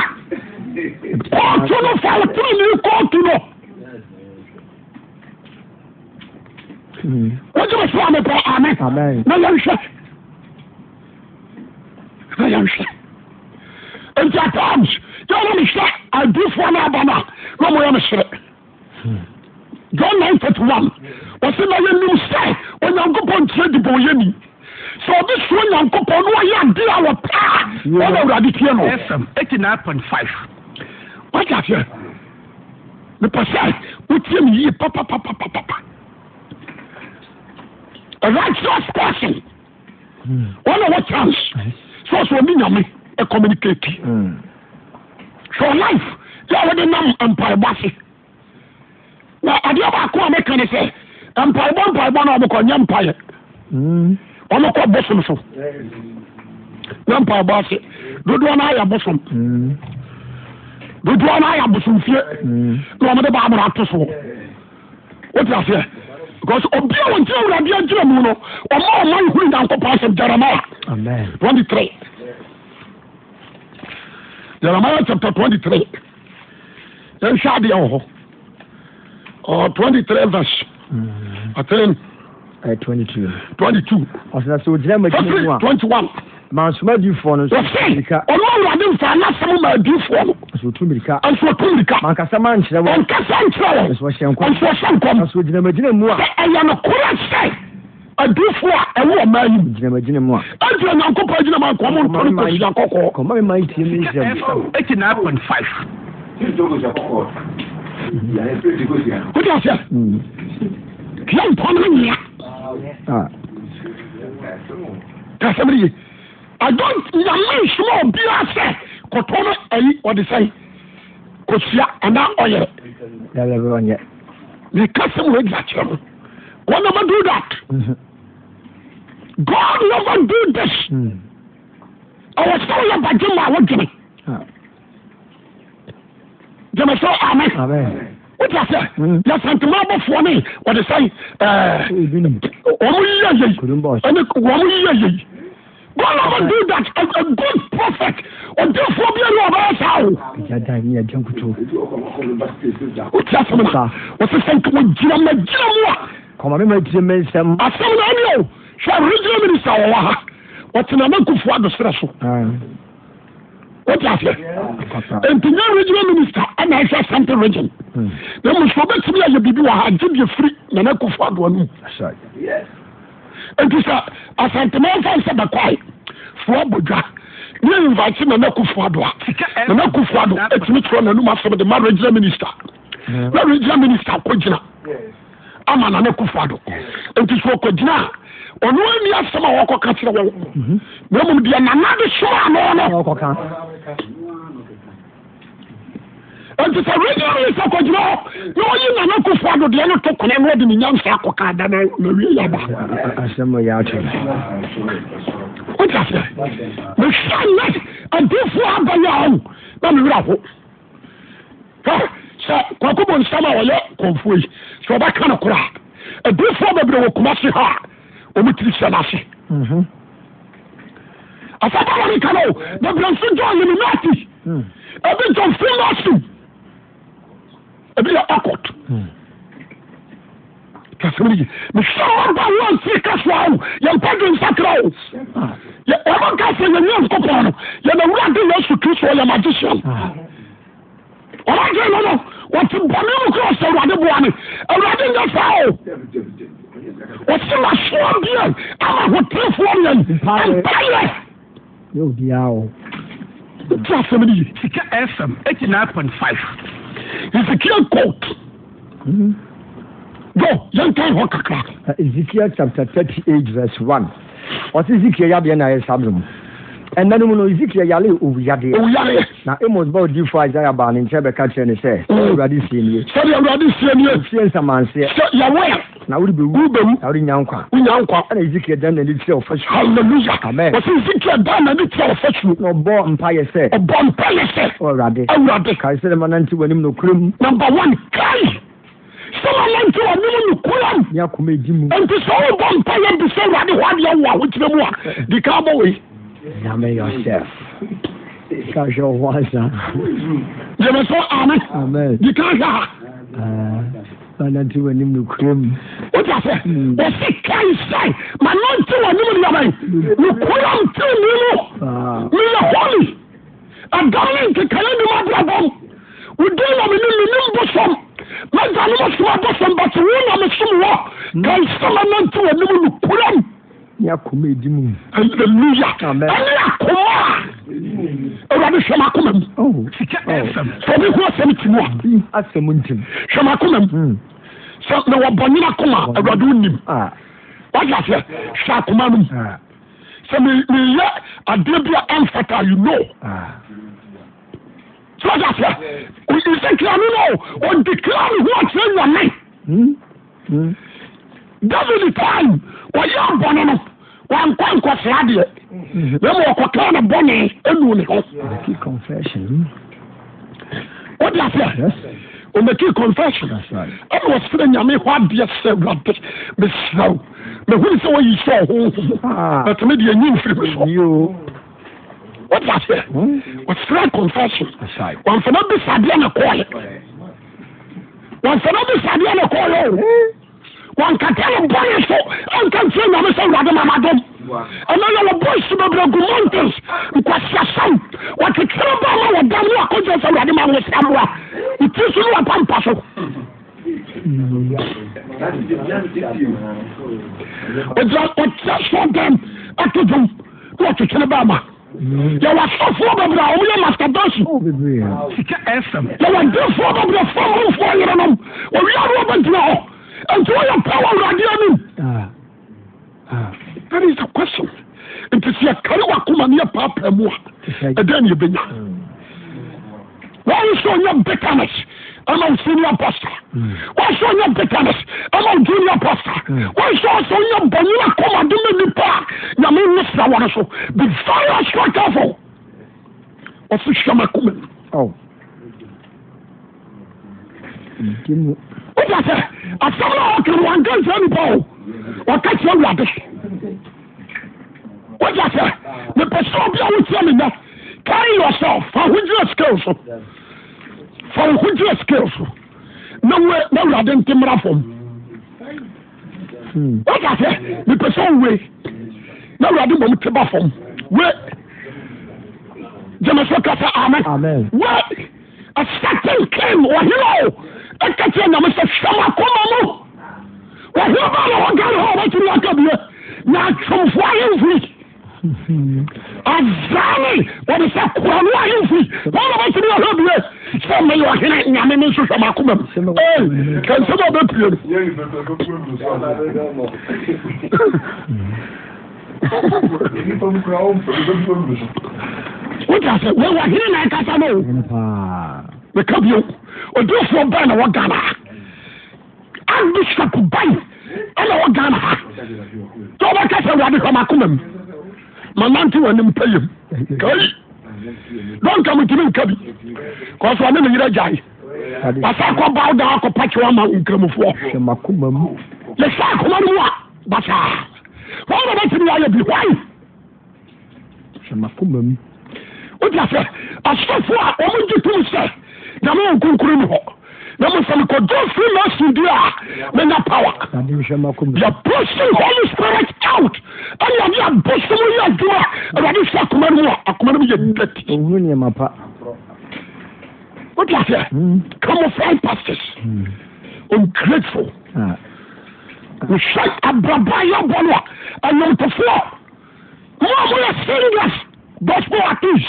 Speaker 2: kóòtù no fa o tiri ni kóòtù no
Speaker 1: Hmm.
Speaker 2: wọ́n jẹ́ bẹ̀sẹ̀ àmì pọ̀
Speaker 1: Amen.
Speaker 2: amẹ́ na yẹn hwẹ́ na yẹn hwẹ́ nti at times yẹn wọ́n mi hwẹ́ àdúfọ́ náà bá náà wọ́n mu yẹn mi sẹ́rẹ̀
Speaker 1: Hmm.
Speaker 2: John nine thirty one wọ́n sẹ́ na yẹn nim sẹ́ Onyankopɔn ntiẹ̀ dìbò yẹn ni sọ ọdún sọ Onyankopɔn ní wọ́n yẹ adé àwọ̀ pàà wọ́n bẹ̀ wúradì tiẹ̀ nù.
Speaker 3: fm eighty nine point five
Speaker 2: wájú àfẹ́ nípa sẹ́ wọ́n tiẹ̀ mi yíye pápápápápápá a righteous person
Speaker 1: Hmm.
Speaker 2: wọ́n náà wọ́n chance sọ́ọ̀sì omi nyàmé ẹ̀ communicate
Speaker 1: Hmm.
Speaker 2: your life yà wọ́n di nam mpaebọ́ ase na adeɛ baako a mẹ́ka ni sẹ́ mpaebọ́ mpaebọ́ náà ọmọkọ nyẹ mpaeɛ
Speaker 1: Hmm.
Speaker 2: ọmọkọ bọ́sọ̀m so nyẹ mpaebọ́ ase dodoɔ náà yà bọ́sọ̀m.
Speaker 1: Hmm.
Speaker 2: dodoɔ no ayɛ abosomfie
Speaker 1: Hmm.
Speaker 2: na ɔmode baabra ato soɔ wote aseɛ because obi a wɔnkyerɛ awurade agyina mu no ɔma ɔma nhuru nyankopɔn asɛm jeremia
Speaker 1: amen
Speaker 2: 23 jeremia chapter 23 yɛnhwɛ adeɛ wɔ hɔ Ɔ, 23 Uh, verse
Speaker 1: Hmm.
Speaker 2: i think
Speaker 1: ɛɛ twenty two
Speaker 2: 22
Speaker 1: ɔsɛn sɛ ogyina mu akyire mu
Speaker 2: fɛfiri
Speaker 1: a
Speaker 2: 21
Speaker 1: maa nsoma diifoɔ no nso otu
Speaker 2: wɔse
Speaker 1: mirika
Speaker 2: ɔno awurade mfa anasɛm ma adiifoɔ no
Speaker 1: nso otu mirika
Speaker 2: ɛnso ɔto mirika
Speaker 1: mankasa ma nkyerɛ wɔn
Speaker 2: ɔnkasa nkyerɛ wɔn
Speaker 1: nso ɔhyɛ nkɔm
Speaker 2: nso ɔhyɛ nkɔm
Speaker 1: nso ogyina mu agyina mu a
Speaker 2: sɛ ɛyɛ no korɛ sɛ adufoɔ a ɛwɔ ɔma yi mu
Speaker 1: ogyina mu agyina mu a
Speaker 2: ɛdura nyankopɔn agyina ma nkɔm ntɔre kɔsia kɔkɔɔ
Speaker 1: kɔma mi ma n tie mi nsɛm
Speaker 3: fm eighty nine point five
Speaker 2: wode aseɛ
Speaker 1: Hmm.
Speaker 2: yɛ mpɔn no nyea
Speaker 1: a
Speaker 2: ka sɛm reye adɔ nyame nsoma obiaa sɛ kɔtɔ no ayi ɔde sɛe kɔsua anaa ɔyerɛ
Speaker 1: yàrá bɛ wɔn yɛ
Speaker 2: meka sɛm wɔadi akyerɛ no God never do that
Speaker 1: Hmm.
Speaker 2: God never do this
Speaker 1: Hmm.
Speaker 2: ɛwɔ sɛ woyɛ bagye ma a wodwene
Speaker 1: Ah.
Speaker 2: gyeme sɛ amen
Speaker 1: amen
Speaker 2: wotia sɛ
Speaker 1: Mm.
Speaker 2: yɛsantema abɔfoɔ ne wɔde sɛe ɛɛ,
Speaker 1: ebi nim
Speaker 2: wɔn yiyɛ yɛyi
Speaker 1: Kurum boss.
Speaker 2: ɛne wɔn yiyɛ yɛyi God never do that a, a good prophet ɔdinfoɔ bi ɛni ɔbɛyɛ saa o
Speaker 1: ɛja dan mi ɛja nkutu
Speaker 2: wotia sɛm na
Speaker 1: Saa.
Speaker 2: wɔte sɛ nka wɔgyina ma gyina mu
Speaker 1: kɔma mi ma n tie mi nsɛm
Speaker 2: a asɛm na ɛne o hwɛ regional minister wɔwɔ ha wɔtena na nkufu adoserɛ so
Speaker 1: ɛɛ
Speaker 2: wotia sɛ
Speaker 1: kɔta
Speaker 2: nti nyɛ regional minister ɛna ɛhwɛ asante region na mu nso ɔbɛtumi ayɛ biribi wɔ ha gyebie firi nana nkufu adoɔ no mu
Speaker 1: ɛsɛ
Speaker 2: nti sɛ asantema mfa nsɛ bɛkwae foɔ bodwa ne invite nana kufuado a nana kufuado atumi kyerɛ nanum asɛm de ma regional minister na regional minister akɔgyina ama nana kufuado nti sɛ ɔkɔgyina a ɔno ani asɛm a wɔkɔka kyerɛ wɔ na mmom deɛ nana de hyɛ ano no
Speaker 1: ɔkɔ kan
Speaker 2: nti sɛ regional minister kɔgyina hɔ na ɔyi nana kufuado deɛ no to kɔnɛ no ɔde ne nyansa akɔka ada na nawie yɛba
Speaker 1: asɛm yɛ atwi
Speaker 2: wote aseɛ mehwɛ nɛ adifoɔ abayɛ awo na mewerɛ ho Hɛ, sɛ kwakobɔ nsɛm a wɔyɛ kɔmfoɔ yi sɛ ɔbɛka no kora a adifoɔ bebree wɔ kuma se ha a ɔmutiri hyɛ no ase asɛba wɔ neka no o bebree nso john yeminati ebi john freemason ebi yɛ ɔkɔt kasɛm no ye mehwɛ wɔba wɔ nsiri kasoa o yɛmpa dwe nsakra o Yɛ- ɔmo ka sɛ yɛnyɛ nkopɔn no yɛna wurade yesu kristo ɔyɛ magician
Speaker 1: Ah.
Speaker 2: ɔmo agye no no wɔte bɔne mu kora sɛ awurade boa me awurade nyɛ saa o wɔse masoa bia ama hotefoɔ mɛn
Speaker 1: Mpaeɛ.
Speaker 2: mpayɛ
Speaker 1: yɛ obi a o
Speaker 2: wote asɛm no ye
Speaker 3: sika fm eighty nine point five
Speaker 1: Hmm.
Speaker 2: hesekiel court go yɛnkan hɔ kakra
Speaker 1: Ah, ezekiel chapter thirty eight verse one ɔsi ezekiel yadeɛ na ayɛ sábẹ mu ɛnna no mu no ezekiel yale owu yadeɛ
Speaker 2: owu yareɛ
Speaker 1: na e amos bá odi fo isaiah baa ne nkyɛn bɛka kyerɛ ne sɛ
Speaker 2: Mm.
Speaker 1: awurade sie nie
Speaker 2: sɛdeɛ awurade sie nie
Speaker 1: sie nsamanseɛ
Speaker 2: sɛ yɛwoɛ
Speaker 1: na wode bɛwu
Speaker 2: wobɛmu
Speaker 1: na wode nya nkwa
Speaker 2: wonya nkwa
Speaker 1: ɛna ezekiel dan n'ani kyerɛ ɔfasu
Speaker 2: halleluya
Speaker 1: Amen.
Speaker 2: wɔse ezekiel da na ne tia ɔfasuo
Speaker 1: na ɔbɔ mpayɛ sɛ
Speaker 2: ɔbɔ mpɛyɛ sɛ
Speaker 1: "Ɔ awurade
Speaker 2: awurade
Speaker 1: kae sɛ ne ma nante w'anim nokorɛm
Speaker 2: number one kai sɛma nante wɔ mene ne kuram
Speaker 1: ne akoma edi mu
Speaker 2: nti sɛ wobɔ mpɛyɛ bi sɛ awurade hɔ adeɛ wo a wokyerɛ mu a de ka bɔ wei
Speaker 1: nyame yourself ka hwɛ wo ho asa
Speaker 2: yɛmɛ sɛ ame
Speaker 1: amen
Speaker 2: de ka hwɛ ha
Speaker 1: Ah, ma nante w'anim nokorɛm
Speaker 2: wote sɛ wɔse kai sɛ ma nante wɔ ne mu deɛbɛn ne kuram tee me mu
Speaker 1: Ah,
Speaker 2: meyɛ hɔle ɛdam ne nkekane de mabrabɔm wodin na mene menim bosom mɛda ne mosoma bosom but wo na mesom wɔ kai sɛ ma nante wɔ ne mu no kuram
Speaker 1: ne akoma edi mu
Speaker 2: hallelujah
Speaker 1: Amen.
Speaker 2: ɛne akoma a awurade hwɛ m'akoma mu
Speaker 1: Oh,
Speaker 3: Sika
Speaker 1: oh.
Speaker 3: FM.
Speaker 2: sɛ obi ho asɛm ti mu a
Speaker 1: Bi asɛm ntim
Speaker 2: hwɛ m'akoma mu
Speaker 1: Hmm.
Speaker 2: sɛ na wɔbɔ nyina akoma a, awurade wonim
Speaker 1: Ah,
Speaker 2: wagya sɛ hwɛ akoma no mu
Speaker 1: ah,
Speaker 2: sɛ me- meyɛ adeɛ bi a ɛmfata you know
Speaker 1: ah.
Speaker 2: sɛ wagya sɛ ɛsɛkira no no ɔdekra ne ho akyerɛ nyame
Speaker 1: Hmm? Hmm?
Speaker 2: david time wɔyɛ abɔne no wankɔ nkɔsra deɛ na ma wɔkɔkaa ne bɔne anu ne ho
Speaker 1: Key confession.
Speaker 2: wode
Speaker 1: Yes.
Speaker 2: aseɛ ɔmaki confession
Speaker 1: That's right.
Speaker 2: ɛna wɔserɛ nyame hɔ adeɛ sɛ awurade mesrɛ wo mahunu sɛ wayi sɛ ɔho
Speaker 1: Ah.
Speaker 2: bɛtumi deɛ nyi mfiri me so
Speaker 1: You.
Speaker 2: wode aseɛ
Speaker 1: Hmm?
Speaker 2: wɔserɛ confession
Speaker 1: That's right.
Speaker 2: wɔmfana bisadeɛ na kɔɔyɛ wɔmfana bisadeɛ na kɔɔyɛ o
Speaker 1: Eh?
Speaker 2: wɔnkata no bɔne so anka mfiri nyame sɛ awurade mamadom ɛna yɛ wɔbɔ su bebrɛ gu mountains nkɔsiasam wɔtekyerɛ ba ma wɔda no akɔgyɛ sɛ awurade ma wosamoa nti so no wɔpampa so Ɔgyina- ɔkyerɛ so dam ato dwom na wɔkyekyere ba ma yɛwɔ asɔfoɔ bebrɛ a ɔmoyɛ mastadansi
Speaker 1: Oh, baby.
Speaker 3: Sika FM.
Speaker 2: yàwọ dẹfọ bàbá fọwọ fọ yẹrẹ nàm òwì àwọn ọba ntìlẹ họ ẹnti wọn yà pàwọ awurade ẹnu.
Speaker 1: Ah. Ah.
Speaker 2: that is the question nti sẹ kari wa kuma ni yẹ paapaa mu a ẹdẹ ni yẹ bẹ nya wọn sọ nyẹ bitterness ama o senior pastor wọn sọ nyẹ bitterness ama o junior pastor
Speaker 1: Mm.
Speaker 2: wọn sọ sọ nyẹ bọnyẹ akọmadunmẹ nipa a nyame ní sira wọn so be very sure careful ọsùn sọmọ kuma mu.
Speaker 1: Oh. Nti mu.
Speaker 2: wọ́n sẹ́ asọ́mọ́ náà wọ́n kiri wọn kẹ́sì ẹnìbọ̀ o wọ́n kẹ́sì ẹwúrọ̀dẹ́ wọ́n sẹ́ nípasẹ̀ obi àwọn tí a mi nà carry yourself for hundred scales o for hundred scales o na wúwe na wúrọ̀dẹ́ ntí mìíràn fún
Speaker 1: Hmm.
Speaker 2: wọ́n sẹ́ nípasẹ̀ òwe na wúrọ̀dẹ́ bọ̀ mu ti bá fún wé jẹ́mẹ̀sọ́ kẹsà amẹ́
Speaker 1: Amen.
Speaker 2: wé asẹ́tìn kẹ́m wọ́hìnà o ẹ̀ka tí a nàmú sẹ́ sẹ́mu akọ́mọ mu wọ́hìnà bá wà wọ́n gánà hàn wọ́n ti rí akadìyẹ nà àtúnfọ́ ayé nfiri azaani wọ́n sẹ́ kuranu ayé nfiri wọ́n nà wọ́n ti rí akadìyẹ sẹ́ mi yọ ọ̀hìnà nyàmé mi nsọ sẹ́mu akọ́mọ mu
Speaker 1: Sẹ́mu akọ́mọ
Speaker 2: ee
Speaker 1: mu.
Speaker 2: kẹ́sẹ́ bá bẹ pìlẹ̀ mu. wọ́n ti àṣẹ wọ́n wọ ọ̀hìnà náà kásá náà o.
Speaker 1: Ɛno paa.
Speaker 2: meka bio odifoɔ bɛn na wɔ ghana ha abishop bɛn ɛna wɔ ghana ha sɛ wɔbɛka sɛ awurade hwɛ makoma mu manante wɔ ne mpayam kai dɔnka metumi nka bi kɔso ɔne me yerɛ gyae
Speaker 1: Awurade,
Speaker 2: wasa kɔbaw da akɔpakye wɔ ma nkramofoɔ
Speaker 1: hwɛ m'akoma mu.
Speaker 2: yɛsɛ akoma no mu a basaa wɔn na bɛtumi ayɛ bi hwan
Speaker 1: Hwɛ m'akoma mu.
Speaker 2: wogya sɛ asɔfo a ɔmogye tom sɛ nyame wɔ nkonkuro ni hɔ na mo sɛ mekɔdo firi masodi a menya power
Speaker 1: Awurade, hwɛ m'akoma mu.
Speaker 2: yɛ pushing holy spirit out ɛne ade abɔso mu yɛ adwuma a awurade hwɛ akoma no mu a akoma no mu yɛ dati
Speaker 1: Ohunu nneɛma pa.
Speaker 2: wogya sɛ
Speaker 1: Hmm.
Speaker 2: camouflage pastors
Speaker 1: Hmm.
Speaker 2: ungrateful
Speaker 1: Ah.
Speaker 2: wohwɛ abraba yɛbɔ no a ɛnomtofoɔ mo a moyɛ serious gospel atis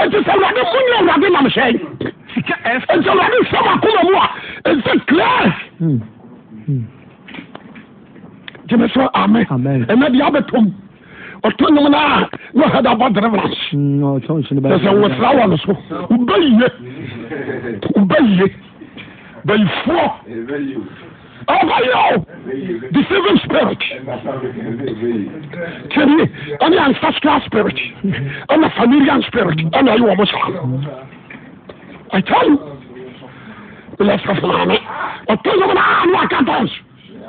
Speaker 2: ɛnti sɛ awurade monyɛ awurade nam hyɛe
Speaker 3: Sika FM.
Speaker 2: nti awurade nsɛm akoma mu a ɛsɛ clear
Speaker 1: Hmm.
Speaker 2: gyeme so ame
Speaker 1: Amen.
Speaker 2: ɛnɛ deɛ abɛtom ɔto nom no a na ɔhɛda bɔ deliverance
Speaker 1: ɔtɔn so ne ba
Speaker 2: sɛ sɛ wosra wɔ no so woba yie woba yie bayifoɔ ɔba yie o deceiving spirit kyɛnie ɛne ancestral spirit ɛna familial spirit ɛna ɛyɛ wɔ mo saa I tell you lɛsɛfo maame ɔto nom no a na aka dance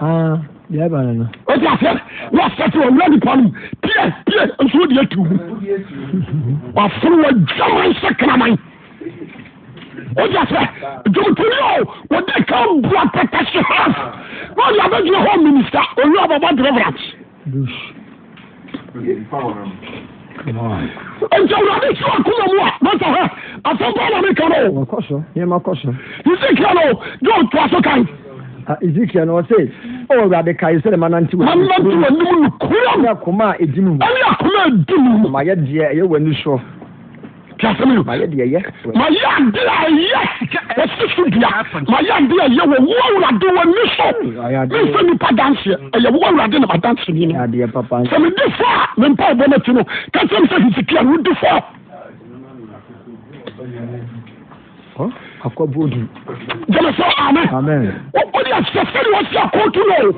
Speaker 1: ah deɛ ɛba no no
Speaker 2: wọ́n ti àfẹ́ wọ́n afẹ́fẹ́ wọn wúlọ́ọ̀dì pọ̀ nù píẹ̀ píẹ̀ nsúwò di etu mu wà fún wọn jẹ́wọ́ nsẹ́ kànáman wọ́n ti àfẹ́ jọ̀mùtúni ọ̀ wọ́n di ká ń bu apẹ̀tẹ̀ sí hàn wọ́n di abẹ́jọ́ home minister olú ọ̀bọ̀bọ̀ deliverance
Speaker 1: bush come on
Speaker 2: ǹjẹ́ wọ́n adé sí wọn kúrò mu à wọ́n sọ hẹ́ àfẹ́fẹ́ wọn mi kàn ó
Speaker 1: wɔkɔ so nneɛma kɔ so
Speaker 2: yìí kàn ó yóò tó aṣọ kan
Speaker 1: Ah, ezekiel no "Oh, ɔse ɔwɔ awurade kae sɛde ma nante
Speaker 2: wọn náà
Speaker 1: Hmm.
Speaker 2: ti wọn nimu nù kúrò mu
Speaker 1: ne akoma a ɛdi mu
Speaker 2: ẹni àkúmẹ̀ dùn mu
Speaker 1: mayɛ deɛ ɛyɛ w'ani soɔ
Speaker 2: kí a sẹ́mi yìí.
Speaker 1: mayɛ deɛ ɛyɛ
Speaker 2: ma yɛ ade a ɛyɛ wɔsi so dua ma yɛ ade a ɛyɛ wɔ wo awurade wɔ ni so mmefa nipa danseɛ ɛyɛ wo awurade na ma danse ni no
Speaker 1: adeɛ papa
Speaker 2: sɛ medi fo a me mpa ɔbɔ no ti no ka kyerɛ me sɛ hisikia no wodi fo
Speaker 1: nso akɔboɔ du
Speaker 2: gyeme sɛ ame
Speaker 1: amen
Speaker 2: wode ahyɛ sɛde wɔsi akooto no o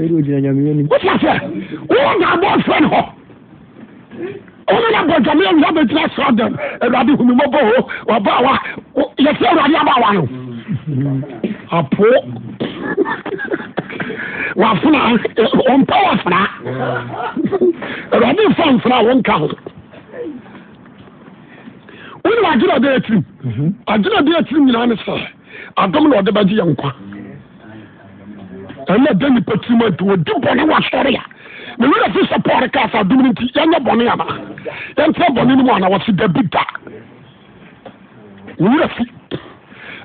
Speaker 1: ɛde ogyina nyameɛ anim
Speaker 2: wote aseɛ wowɔ na abɔ frɛ no hɔ ɔno na bɔ gyame awura bɛgyina sra dɛm awurade humimɔbɔ o wɔbaa wa yɛsɛ awurade abaa wa no apo wafuna ɔmpa wafuna awurade mfa mfuna a wɔnka ho wone wagyena ɔde atirim agyena ɔde atirim nyinaa ne sɛ adom na ɔde bɛgye yɛ nkwa ɛna da nipa tirim ati wɔdi bɔne wasɔre a mewera fi sɛ paul kaa sɛ adom no nti yɛnyɛ bɔne ana yɛntrɛ bɔne no mu ana wɔse da bi da mewera fi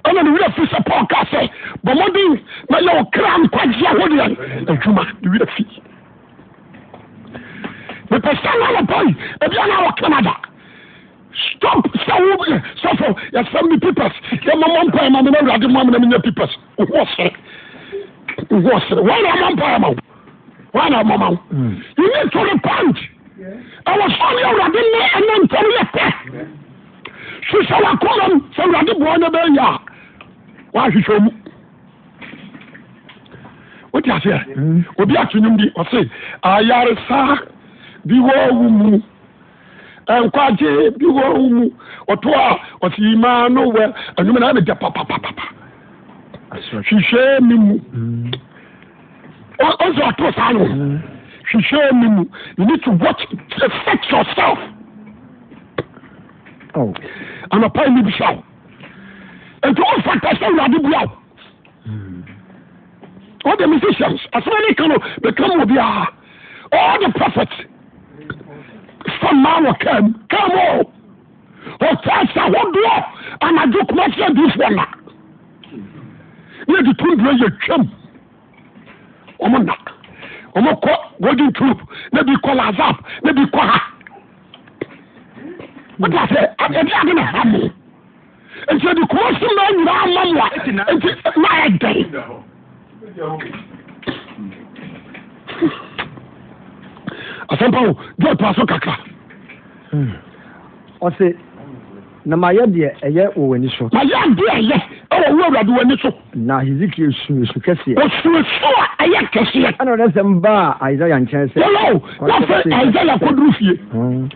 Speaker 2: ɛna ne werɛ fi sɛ paul ka sɛ bɔ mmɔden na yɛwo kra nkwagye ahodeɛ adwuma ne werɛ fi mepɛ sɛ na anɔpai ebia na wɔ canada stop sɛ wo sɛfo yɛsɛm me pipers yɛma mɔmpae ma mena awurade ma mena menya pipers wohoɔ sere wohoɔ sere wana amampae ma wo wana amama wo you need to repent ɛwɔ sɛ ne awurade ne ɛne ntɛm yɛ pɛ hyehyɛ wakomam sɛ awurade boɔ no bɛyɛ a wahyehyɛ mu wote
Speaker 1: Hmm.
Speaker 2: aseɛ obi ato nwom bi ɔse ayaresa bi wɔ wo mu ɛnkwagye bi wɔ wo mu ɔto a ɔse yimaa no wɛ anwuma na ɛmegya papapapapa hyehyɛ me mu
Speaker 1: Hmm.
Speaker 2: Ɔ- ɔsɛ ɔto saa no hyehyɛ me mu you need to watch to set yourself
Speaker 1: Oh,
Speaker 2: anapa ni bi saw nti o fa tẹsán wulade bua o all the musicians asomani kano become obi a all the prophets fama wɔ kam kam o ɔtɛɛsɛ ahodoɔ anadwo kumasi adiifoɔ na ne yɛ tuntun duro yɛ twam wɔn na wɔn kɔ golden troop ne bi kɔ lazap ne bi kɔ ha. wọ́n ti àṣẹ ẹbí adé na ha mu nti ẹbi kò sí mọ ẹnyìnbá ama mu a nti máa yẹ dẹ asẹmpa wo jọ to aso kakra
Speaker 1: ɔse na mayɛ deɛ ɛyɛ wɔ w'ani so
Speaker 2: ma yẹ adi ẹyẹ ẹwọ owó awurade wani so
Speaker 1: na hesekiel suu su kɛseɛ
Speaker 2: osuosu a ɛyɛ kɛseɛ
Speaker 1: ɛna ɔdɛ sɛm baa isaia nkyɛn sɛ
Speaker 2: yọlọ o n'afẹ ẹyẹ kó duru fie
Speaker 1: Hmm.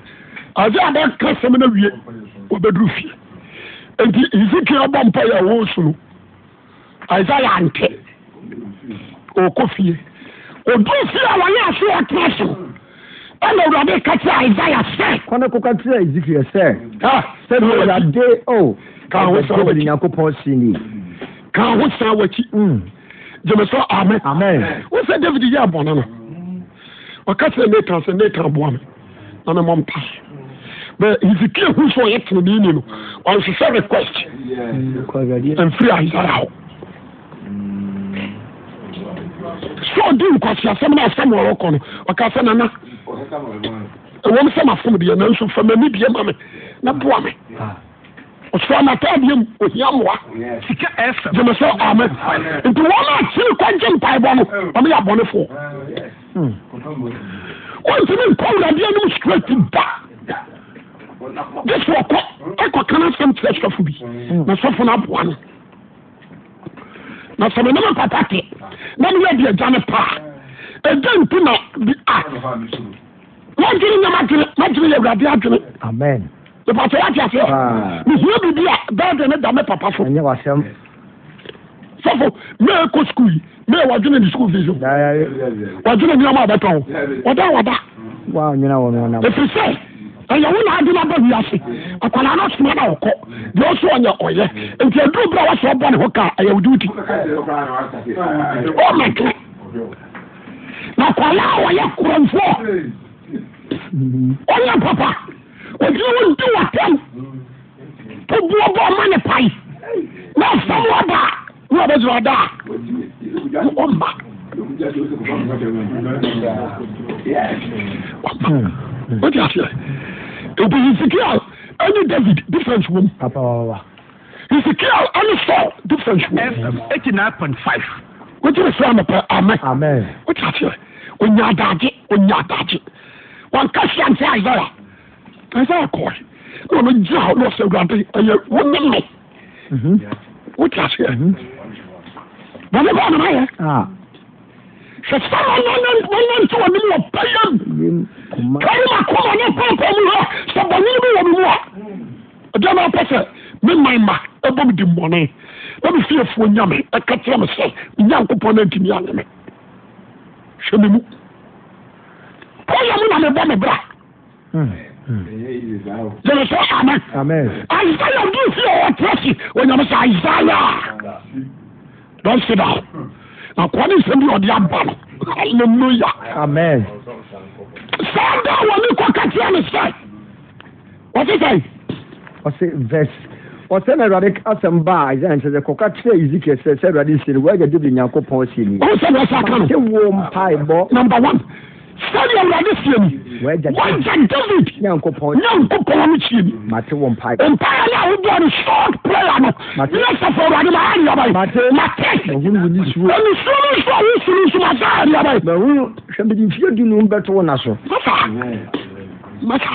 Speaker 2: ẹyẹ adé ká sẹmi na wie ọbẹ duru fie nti ezekiel ọbọ mpa yẹ ọwọ sunu ẹyẹ ante ọkọ fie. oduru fie a wɔyɛ ase wɔ tena so ɛna awurade ka kyerɛ isaia sɛ "Ah,
Speaker 1: kɔ ne kɔka kyerɛ hesekiel sɛ sɛde
Speaker 2: sɛdeɛ
Speaker 1: awurade o
Speaker 2: Ka wo sa
Speaker 1: Awurade
Speaker 2: w'akyi.
Speaker 1: nyankopɔn see ni
Speaker 2: ka ho saa w'akyi
Speaker 1: Hmm.
Speaker 2: gyeme sɛ ame
Speaker 1: amen
Speaker 2: wo sɛ david yɛ bɔne no ɔka kyerɛ natan sɛ natan boa me na memmɔ mpa bɛ hesekia hu sɛ ɔyɛ tenenee ni no ɔnhwehwɛ request
Speaker 1: Hmm, kɔ awurade
Speaker 2: mfiri isaia hɔ sɛ ɔde nkwaseasɛm no asɛm wɔrɔkɔ no ɔka sɛ nana ɛwɔm sɛ mafom deɛ nanso fa m'ani deɛ ma me na boa me ɔsoro anatadeɛ mu ohia mmoa
Speaker 3: sika fm
Speaker 2: gyeme sɛ ame nti wɔn a kyiri kɔgye mpaebɔ no ɔno yɛ abɔnefoɔ wɔntumi nkɔ awuradeɛ nom straight da gye sɛ ɔkɔ ɛkɔkana asɛm kyerɛ sɔfo bi na sɔfo no aboa no na sɛ menam papa te na meyɛ de agya ne paa ɛgya nti na bi a wɔdwene nyama dwene na dwene yɛ awurade adwene
Speaker 1: amen
Speaker 2: mepatɛ yɛate
Speaker 1: Ah.
Speaker 2: aseɛ mehia biribi a dade ne da me papa so
Speaker 1: ɛnyɛ wasɛm
Speaker 2: sɔfo mɛ kɔ sukuu yi mɛ wɔdwene ne sukuu fees o
Speaker 1: daa
Speaker 2: wɔdwene nneɛma a bɛtɔn wɔda wɔda
Speaker 1: woanwena wɔ no wonam
Speaker 2: ɛfiri sɛ ɛyɛ wo naade no aba wiase akwadaa no soma na ɔkɔ deɛ ɔso ɔnyɛ ɔyɛ nti aduru berɛ a wɔsɛ ɔbɔ ne ho ka ɛyɛ wo duty ɔmɛtwe na akwadaa a wɔyɛ korɔmfoɔ ɔnyɛ papa ɔgyina wo nti wɔtɛm tobuɔ bɔ ɔma ne pae na ɔsɛm wɔda a ne wɔbɛgyina ɔda a ɔmma wọ́n aseɛ ebi ezekiel ɛne david difference wɔm
Speaker 1: papa wawawa
Speaker 2: ezekiel ɛne saul difference wɔm
Speaker 3: fm eighty nine point five
Speaker 2: wọ́n ti sɛ anapa amen
Speaker 1: amen
Speaker 2: wọ́n aseɛ onya adagye onya adagye wɔn kasi ante isaiah isaiah kɔɛ na ɔno gyina hɔ na ɔsɛ awurade ɛyɛ wɔn ne no
Speaker 1: Mhm.
Speaker 2: wọ́n aseɛ
Speaker 3: Mhm.
Speaker 2: wɔn bɛɛ nana yɛ
Speaker 1: a
Speaker 2: sɛ sáwọn ɔnà ɔnà ntɛ wɔn mu wɔ pɛyɛm
Speaker 1: yɛm kɔma
Speaker 2: kari ma kɔma ne pɔmpɔ mu hɔ sɛ bɔnwene bi wɔ me mu a ɛdeɛ na apɛ sɛ me man ma ɛbɔ me di E mmɔne na me fiefoɔ nya me ɛka kyerɛ e me sɛ me nyankopɔn no antimi anye me hwɛ me mu pɔyɛ mu na mebɔ me e bra gyene sɛ amen
Speaker 1: amen
Speaker 2: isaia do fie ɔwɔ trɛsi onyame sɛ isaia don sit down na kɔne nsɛm bi a ɔde aba no hallelujah
Speaker 1: amen
Speaker 2: saa da wɔ ne kɔka kyerɛ me sɛ wɔte sɛe
Speaker 1: ɔse vers ɔsɛ na awurade asɛm baa isaia nkyɛ sɛ kɔka kyerɛ ezekiel sɛ sɛ awurade sie no woagya david nyankopɔn sie ni
Speaker 2: ɔhu sɛ deɛ ɔsɛ aka no
Speaker 1: sɛ wo mpaebɔ
Speaker 2: number one sani awurade seɛ mu
Speaker 1: Wagya
Speaker 2: wagya david
Speaker 1: nyankopɔn
Speaker 2: nyankopɔn no kyie mu
Speaker 1: mate wo mpaebɔ
Speaker 2: mpaeɛ no a wodoa no short prayer no
Speaker 1: Mate.
Speaker 2: ne sɛfo awurade ma aneabae
Speaker 1: Mate.
Speaker 2: mate
Speaker 1: ɔhunu wo ni suo
Speaker 2: ɛnusuro no nso a wosuro nso ma saa aneabae
Speaker 1: mahu hwɛ mede mfie du num bɛto wo na so
Speaker 2: masa masa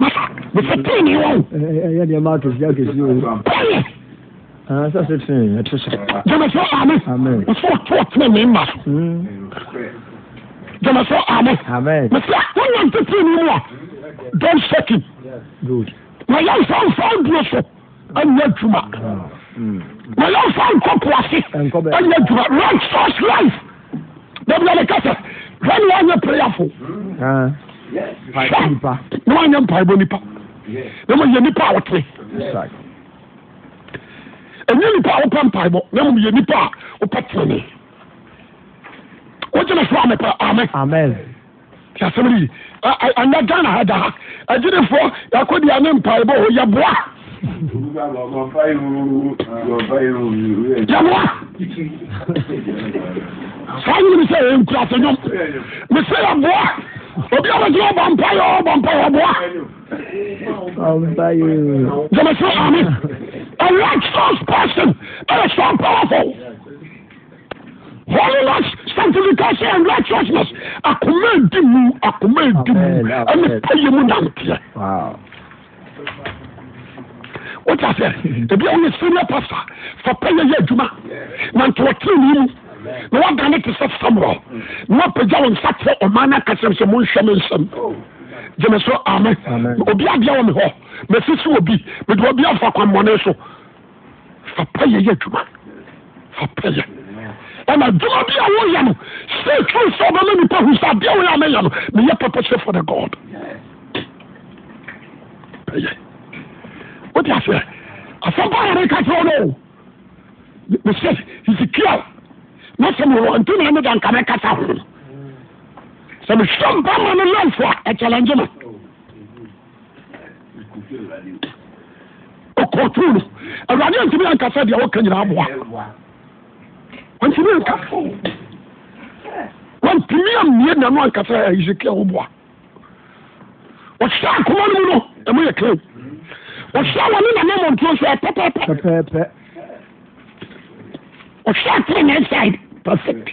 Speaker 2: masa mefɛ tene wɔ wo
Speaker 1: ɛyɛ nneɛma atofie akɛsi o
Speaker 2: pɔyɛ
Speaker 1: sɛ se tee ɛto so
Speaker 2: gyamɛsɛ ame
Speaker 1: Amen.
Speaker 2: ɛsɛ ɔtoɔ tena ne mma so
Speaker 1: Mm,
Speaker 2: gyamɛsɛ ame
Speaker 1: amen
Speaker 2: mesɛ wonya ntetee ne mu a don sekin
Speaker 1: good
Speaker 2: na yɛmfa mfa aduro so anyɛ adwuma na yɛmfa nkɔpo ase
Speaker 1: Ɛnkɔ bɛ-
Speaker 2: anyɛ adwuma right first life dabia ne ka sɛ hwɛ ne woanyɛ prayerfo
Speaker 1: Ah,
Speaker 2: hwɛ
Speaker 1: nipa
Speaker 2: na woanyɛ mpaebɔ nnipa na moyɛ nnipa a wotere
Speaker 1: Exact.
Speaker 2: ɛnyɛ nnipa a wopɛ mpaebɔ na mmom yɛ nnipa a wopɛ tene wogyene so a mepɛ ame
Speaker 1: amen
Speaker 2: nti asɛm no yi Ɛ- ɛ- ɛnyɛ ghana ha da ha agyerefoɔ yɛakɔdia ne mpaebɔ hɔ yɛboa yɛboa saa nyere sɛ ɛyɛ e nkura sɛ nwom mesɛ yɛboa obi abɛgyina ɔbɔ mpayɛ ɔbɔ mpayɛ ɔboa
Speaker 1: ɔmpa
Speaker 2: gyama sɛ ame a righteous person ɛyɛ so powerful holiness sanctification and righteousness akoma adi mu akoma adi mu
Speaker 1: Amen, amen.
Speaker 2: ɛne pɛyɛ mu nanteɛ
Speaker 1: wow
Speaker 2: wota sɛ ebi a woyɛ senior pastor fa pɛyɛ yɛ adwuma na nti wɔtere ne mu na woadane te sɛ samuel na woapagya wo nsa kyerɛ ɔma no akasɛm sɛ monhwɛ me nsɛm gyeme so amen
Speaker 1: Amen.
Speaker 2: obi adeɛ wɔ me hɔ masisi wɔ bi mede obi afa kwammɔne so fa pɛyɛ yɛ adwuma fa pɛyɛ ɛna adwuma bi a woyɛ no sɛ tru sɛ ɔbɛma nnipa hu sɛ adeɛ woyɛ a mɛyɛ no meyɛ purpose for the god pɛyɛ wote aseɛ asɛmpa yɛre ka kyerɛ no o. Me- mesɛ hesekiel na sɛ mewɔ nti na ne da nka mɛkasa ho sɛ mehwɛ mpa ma no lamfo a ɛkyɛlɛngye me ɔkɔtoo no awurade antimi ankasa deɛ woka nyinaa boa wantimi anka wantimi ammie nano ankasa a hesekiel wo boa ɔhyɛ akoma no mu no ɛmo yɛ klem ɔhyɛ wɔ ne nam amɔntuo so ɛ pɛpɛpɛ
Speaker 1: pɛpɛɛpɛ
Speaker 2: ɔhyɛ atere ne side perfect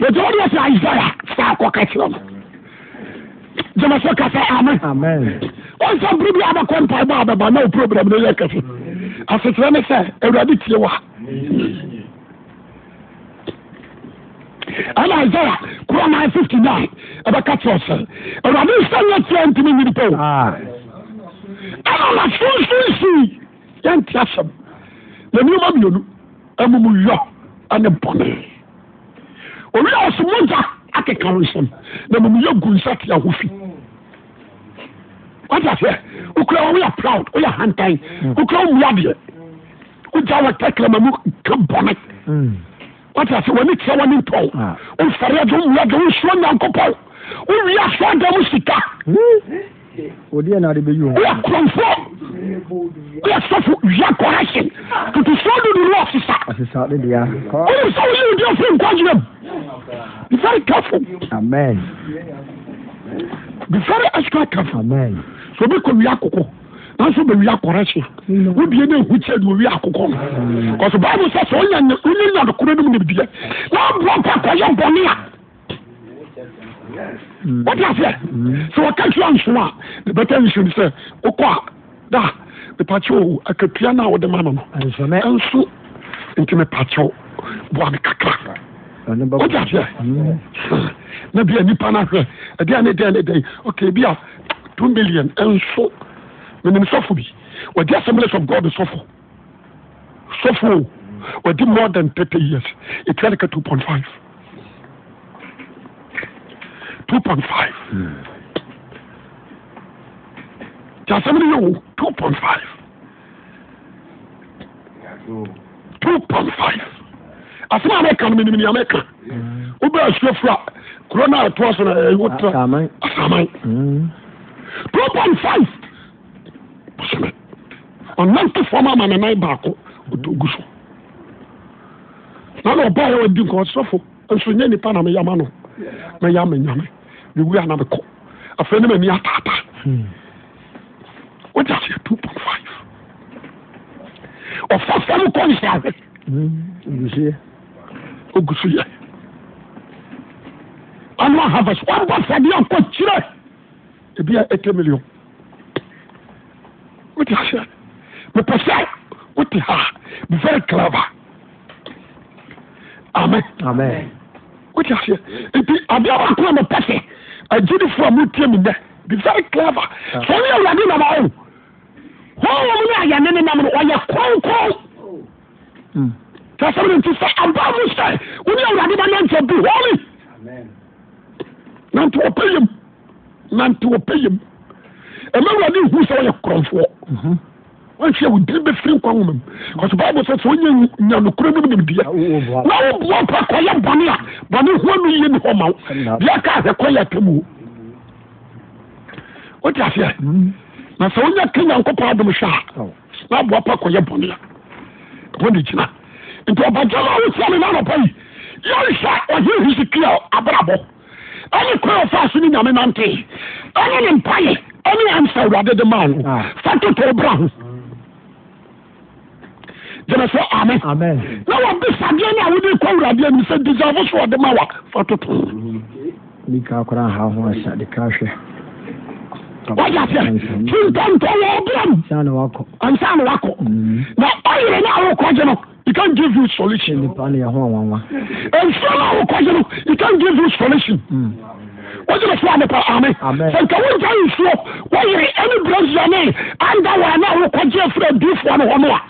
Speaker 2: yɛgya wode ɔsɛ isaia saa kɔka kyerɛ no gyama sɛ kasa amen
Speaker 1: amen
Speaker 2: ɔnsa bere bi abɛkɔ mpaebɔ a bɛba na wo program no yɛ kɛse asekyerɛ ne sɛ awurade tie wɔ ɛna isaia kora 959 ɛbɛka kyerɛ sɛ awurade nsɛ nyɛ kyerɛ ntimi nyini pɛ o
Speaker 1: ah
Speaker 2: ɛna masunsunsii yɛnte asɛm na nneɛma mmienu amumu yɔ ɛne bɔne owi a ɔso mogya akeka wo nsɛm na mumu yɛ gu nsa te aho fi wata sɛ wokura wo woyɛ proud woyɛ hantan wokura wo mmua deɛ wogya wɔtɛkrama mu ka bɔne
Speaker 1: mm.
Speaker 2: wata sɛ wɔne kyerɛ wɔne ntɔw
Speaker 1: Ah.
Speaker 2: womfare agye wo mmua de wonsuo nyankopɔn wowie asɔda mu sika
Speaker 1: Hmm? odeɛ na ade bɛyi
Speaker 2: woyɛ kurɔmfo woyɛ sɔfo wia correction totosuo dodo ne ɔsesa
Speaker 1: ɔsesa ne dea Kɔ.
Speaker 2: wonim sɛ woyɛ wodi afiri nkwagyenam be very careful
Speaker 1: amen
Speaker 2: be very extra careful
Speaker 1: amen
Speaker 2: sɛ obi kɔ wia akokɔ nanso bɛwia correction a wodie ne ɛhu kyɛ de owia akokɔ no bcause bible "Oh, sɛ sɛ wonya nya- wonyɛ nyadekorɔ no mu nimdeɛ na woboa pa kɔyɛ bɔne a
Speaker 1: Mm.
Speaker 2: wọ́n ti àfẹ́ sọ wọ́n kẹ́kí àǹsùn a bẹ́tẹ̀ nsùn sẹ́ ọkọ a dá mipàkyẹ́ o akatua náà ọ̀dẹ́ mọ́ àmọ́
Speaker 1: nsɛmɛ
Speaker 2: ẹnso nti mipàkyẹ́ o bọ́ àmì kakra
Speaker 1: ɔne
Speaker 2: wọ́n ti àfẹ́ na bi a E nipa náà hwẹ́ ẹ̀dẹ́ àná ẹ̀dẹ́ àná ẹ̀dẹ́ yìí ok bi a two million ẹnso mìíràn sọ́fù bi wọ́n assemblies of god sọ́fù sọ́fù o wọ́n more than thirty years ètò ẹ̀ka two point five two point five. ti asɛm no yɛ wo two point five two point five asɛm a mɛka no menim nea mɛka
Speaker 1: Mm.
Speaker 2: wobɛ asuo fo a kuro no a ɛtoa so no ɛwotra
Speaker 1: Ah, amen
Speaker 2: asaman
Speaker 1: Mm.
Speaker 2: two point five bosome ɔnantefoɔ ma ama nanan baako ɔtɔ gu so na na ɔbaa yɛ wadi nka ɔsɔfo nso nyɛ nipa na meyama no mɛyɛ ama nyame mewu a na mekɔ afei ne mani ataataa
Speaker 1: Hmm.
Speaker 2: wọ́n ti àṣeyẹ two point five ọ̀fà fẹ́mi kọ́ ní sàrẹ́
Speaker 1: Hmm. Ndusie.
Speaker 2: ogun so yẹ annual harvest wọ́n bọ̀ fẹ́ di ọkọ̀ kyerẹ́ ebi yẹ eighty million wọ́n ti àṣeyẹ mipasẹ́ wọ́n ti ha be very clever amen
Speaker 1: amen
Speaker 2: wọ́n ti E àṣeyẹ ebi àbí àwọn akọ́nà mi pẹ́sẹ̀ àjídìfọ́ mi tiẹ̀ mi dẹ́ be very clever sọ́ni ẹ̀wúrọ̀dì nàbà ọ̀hún wọ́n wọ́n mu ní àyànnẹ́ ní nàmú ọ̀yẹ kọ́ńkọ́ń.
Speaker 1: Hmm.
Speaker 2: sasɛmne nti sɛ aba mo sɛ wone awurade ba nantɛ bi hɔne nante wɔpɛ yam nante wɔpɛ yam ɛma awurade hu sɛ woyɛ korɔmfoɔ
Speaker 1: Mhm.
Speaker 2: wanhwɛ wo diri bɛfiri nkwa nwoma mu bcause bible sɛ sɛ wonya nyanokora no mu nimdeɛ
Speaker 1: Na wo- wo boa.
Speaker 2: na woboa pa kɔyɛ bɔne a bɔne ho no yie ne hɔ ma wo
Speaker 1: Ɛnna.
Speaker 2: deɛ ka ahwɛ kɔyɛ atamuo wote aseɛ
Speaker 1: Hmm.
Speaker 2: na sɛ wonya ka nyankopɔn adom hwɛ a
Speaker 1: Aw.
Speaker 2: n'abu apa kɔ yɛ bɔnne a wɔn de gyina nti ɔbɛgya ma awo tia mi n'anɔpa yi yɛnhyɛ ɔyɛ hisikia abrabɔ ɛne kwan ɔfa so ne nyame nante ɛne ne mpaeɛ ɛne ansa awurade de maa no
Speaker 1: Ah.
Speaker 2: fa toto bra ho gyina sɛ ame
Speaker 1: amen
Speaker 2: na wɔbisadeɛ no a wode kɔ awurade anim sɛ deserve so ɔde ma wa fa toto
Speaker 1: bi ka kora ha ho ahyɛ de ka hwɛ
Speaker 2: wɔgye aseɛ tuntɔntɔ wɔ ɔbra mu
Speaker 1: saa na wakɔ
Speaker 2: ansa na wakɔ
Speaker 1: Mm.
Speaker 2: na ɔyere no a wokɔgye no it can give you solution
Speaker 1: nipa no yɛ ho awanwa
Speaker 2: nsuo no a wokɔgye no it can give you solution
Speaker 1: Hmm.
Speaker 2: wọ́n yẹ fún àmì àmì
Speaker 1: Amen.
Speaker 2: sẹ̀ǹkà wọ́n jẹ́ nsuo wọ́n yẹ ẹni brazil ní andawa náà wọ́n kọjú ẹ̀fúrẹ́ bífọ́ ni wọ́n wà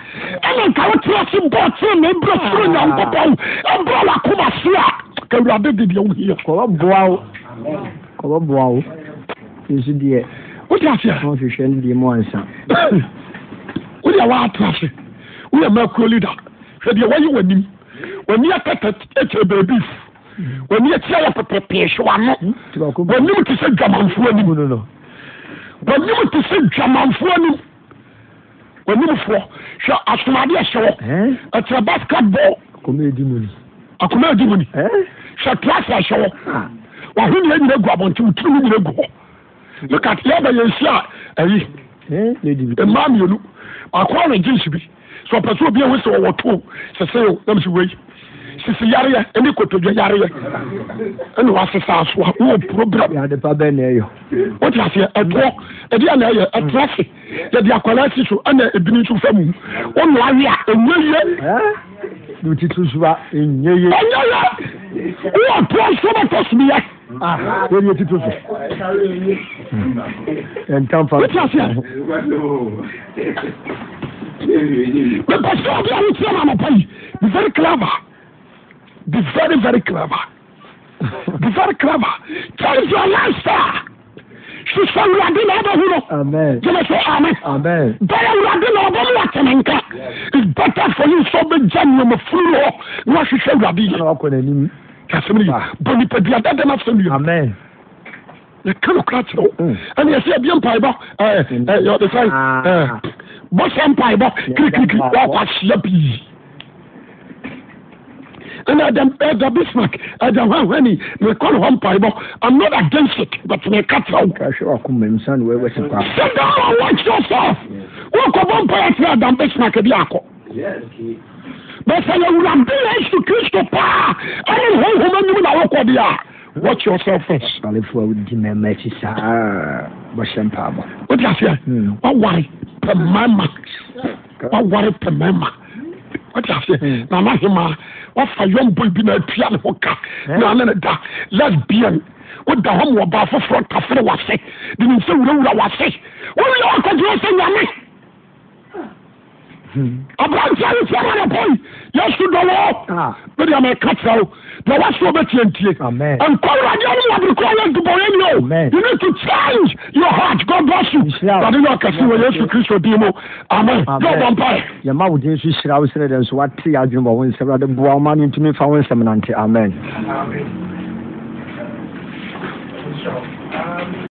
Speaker 2: ẹni nkà wọ́n tiẹ̀ sí bọ́ọ̀tì ní ebúrẹ́ fúru yàn pọ̀pọ̀ ẹ̀bùrọ̀ wà kó ma sí a kẹwìrì adé dìde ẹ̀wọ̀n yìí.
Speaker 1: kɔbɔ boa wo kɔbɔ boa wo nso deɛ
Speaker 2: wọ́n ti àṣẹ
Speaker 1: wɔn hwehwɛ no deɛ mu ansa
Speaker 2: wọ́n yẹ wọ́n ato àṣẹ wọ́n yẹ mẹ́kúrò lídà ṣẹ̀díẹ̀ wọ́n yẹ wọ́n nim wọ́n ní ẹ̀kẹ́tẹ̀ ẹ̀kyẹ̀ bẹ̀ẹ̀bí wọ́n ní ẹ̀kyẹ̀ yẹ pẹ̀pẹ̀pẹ̀ ṣùwàmù
Speaker 1: tibako
Speaker 2: wọ́n nim ti sẹ́ dwamanfuo nim.
Speaker 1: mu no no
Speaker 2: wɔnim te sɛ dwamanfoɔ nim wɔnimfoɔ hwɛ asomadeɛ hyɛ wɔ
Speaker 1: ɛn
Speaker 2: ɛkyerɛ basketball
Speaker 1: kɔmi edi mu ni
Speaker 2: akoma adi mu ni
Speaker 1: ɛn
Speaker 2: hwɛ trasa hyɛ wɔ
Speaker 1: Ah.
Speaker 2: wahonea nyina gu abɔnten wo tirim nyina gu hɔ mekat yɛba yɛnsi a ayi
Speaker 1: Eh, lady bi.
Speaker 2: mmaa mmienu akɔɔ ne jeans bi sɛ ɔpɛ sɛ obi a wosɛ wɔwɔ too sese o nam sɛ wei sisi yareɛ ɛne kotodwe yareɛ ɛne wasesa so a wowɔ program
Speaker 1: Yàda pa bẹ́ẹ̀ ni ẹ yọ.
Speaker 2: wote aseɛ ɛtoɔ ɛde ana ɛyɛ ɛtra se yɛde akwadaa si so ɛna ebini nso fa mu wonoa we Oh, a ɛnyɛ yie
Speaker 1: Ẹ́ lu titun suba nye ye.
Speaker 2: ɛnyɛ yie wowɔ toɔ sɛbɛtɔ somiyɛ
Speaker 1: Ah, wọ́n yẹ titun sọ. Ẹ̀ n tan fa.
Speaker 2: wote aseɛ mepɛ sɛ obi a wotia no anɔpa yi be very clever be very very clever be very clever change your lifestyle hwehwɛ awurade na ɛbɛhu no
Speaker 1: Amen.
Speaker 2: gyeme so amen
Speaker 1: Amen.
Speaker 2: bɛyɛ awurade na ɔbɔ mu watene nka is better for you sɛ wobɛgya nneɔmafuru hɔ na wahwehwɛ awurade
Speaker 1: Ẹ
Speaker 2: yie
Speaker 1: wá kọ n'anim.
Speaker 2: asɛm no yi bɔ nipadua dadam asɛm yi
Speaker 1: Amen.
Speaker 2: yɛka nokora kyerɛ wo
Speaker 1: Mm.
Speaker 2: ɛne yɛsɛ yɛbie mpaebɔ Eh, yɛde sɛ
Speaker 1: Ah.
Speaker 2: Eh, bɔsɛ mpaebɔ kirikirikiri
Speaker 1: mpaebɔ.
Speaker 2: wɔkwahyia pii ɛna ɛda- ɛda bismark ɛda hwahwani mekɔ ne hɔ mpaebɔ i'm not against it but meka kyerɛ wo
Speaker 1: Ká ṣe wà kó mẹ́rin sani wẹ́wẹ́ sí pa.
Speaker 2: sit down and watch yourself wokɔbɔ mpaeɛ kyerɛ adam bismark bi akɔ but sɛ yɛwurade yesu kristo paa ɛne ne honhom anim na wokɔ deɛ a
Speaker 1: Mm.
Speaker 2: watch yourself first
Speaker 1: Àlefo a di mẹ́mẹ́ ẹ̀kí sáá. Bọ́sẹ̀ mpaabọ̀.
Speaker 2: wote aseɛ
Speaker 1: Mm.
Speaker 2: waware pɛ mmarima waware pɛ mmarima wote aseɛ
Speaker 1: Mm.
Speaker 2: nanahema wafa yɔmboy bi na atua ne ho ka
Speaker 1: Eh?
Speaker 2: na ne ne da lesbian woda hɔ ma ɔbaa foforɔ tafere wase de ne nsɛ wurawura wase wowie wakɔgyerɛ sɛ nyame
Speaker 1: Hmm.
Speaker 2: aberanteɛ no fiama no pɔi yɛsu dɔwɔ
Speaker 1: Ah.
Speaker 2: mede amɛka kyerɛ wo na wase wobɛtiantie
Speaker 1: Amen.
Speaker 2: nkɔwuradeɛ no waberekɔ yɛ ntubɔyɛni o
Speaker 1: Amen.
Speaker 2: you need to change your heart god bless you
Speaker 1: Nhyira wo.
Speaker 2: Awurade yɛ ɔkɛse wɔ yesu kristo din mu amen
Speaker 1: Amen.
Speaker 2: yɛbɔ mpae
Speaker 1: Yàmá wò di nsu hyira wò sẹ́dẹ̀ nso wà ti adwene bọ̀ wọ́n nsẹ́m náà de bu àwọn ọmọ ní ntumi fa wọ́n nsẹ́m náà nti amen.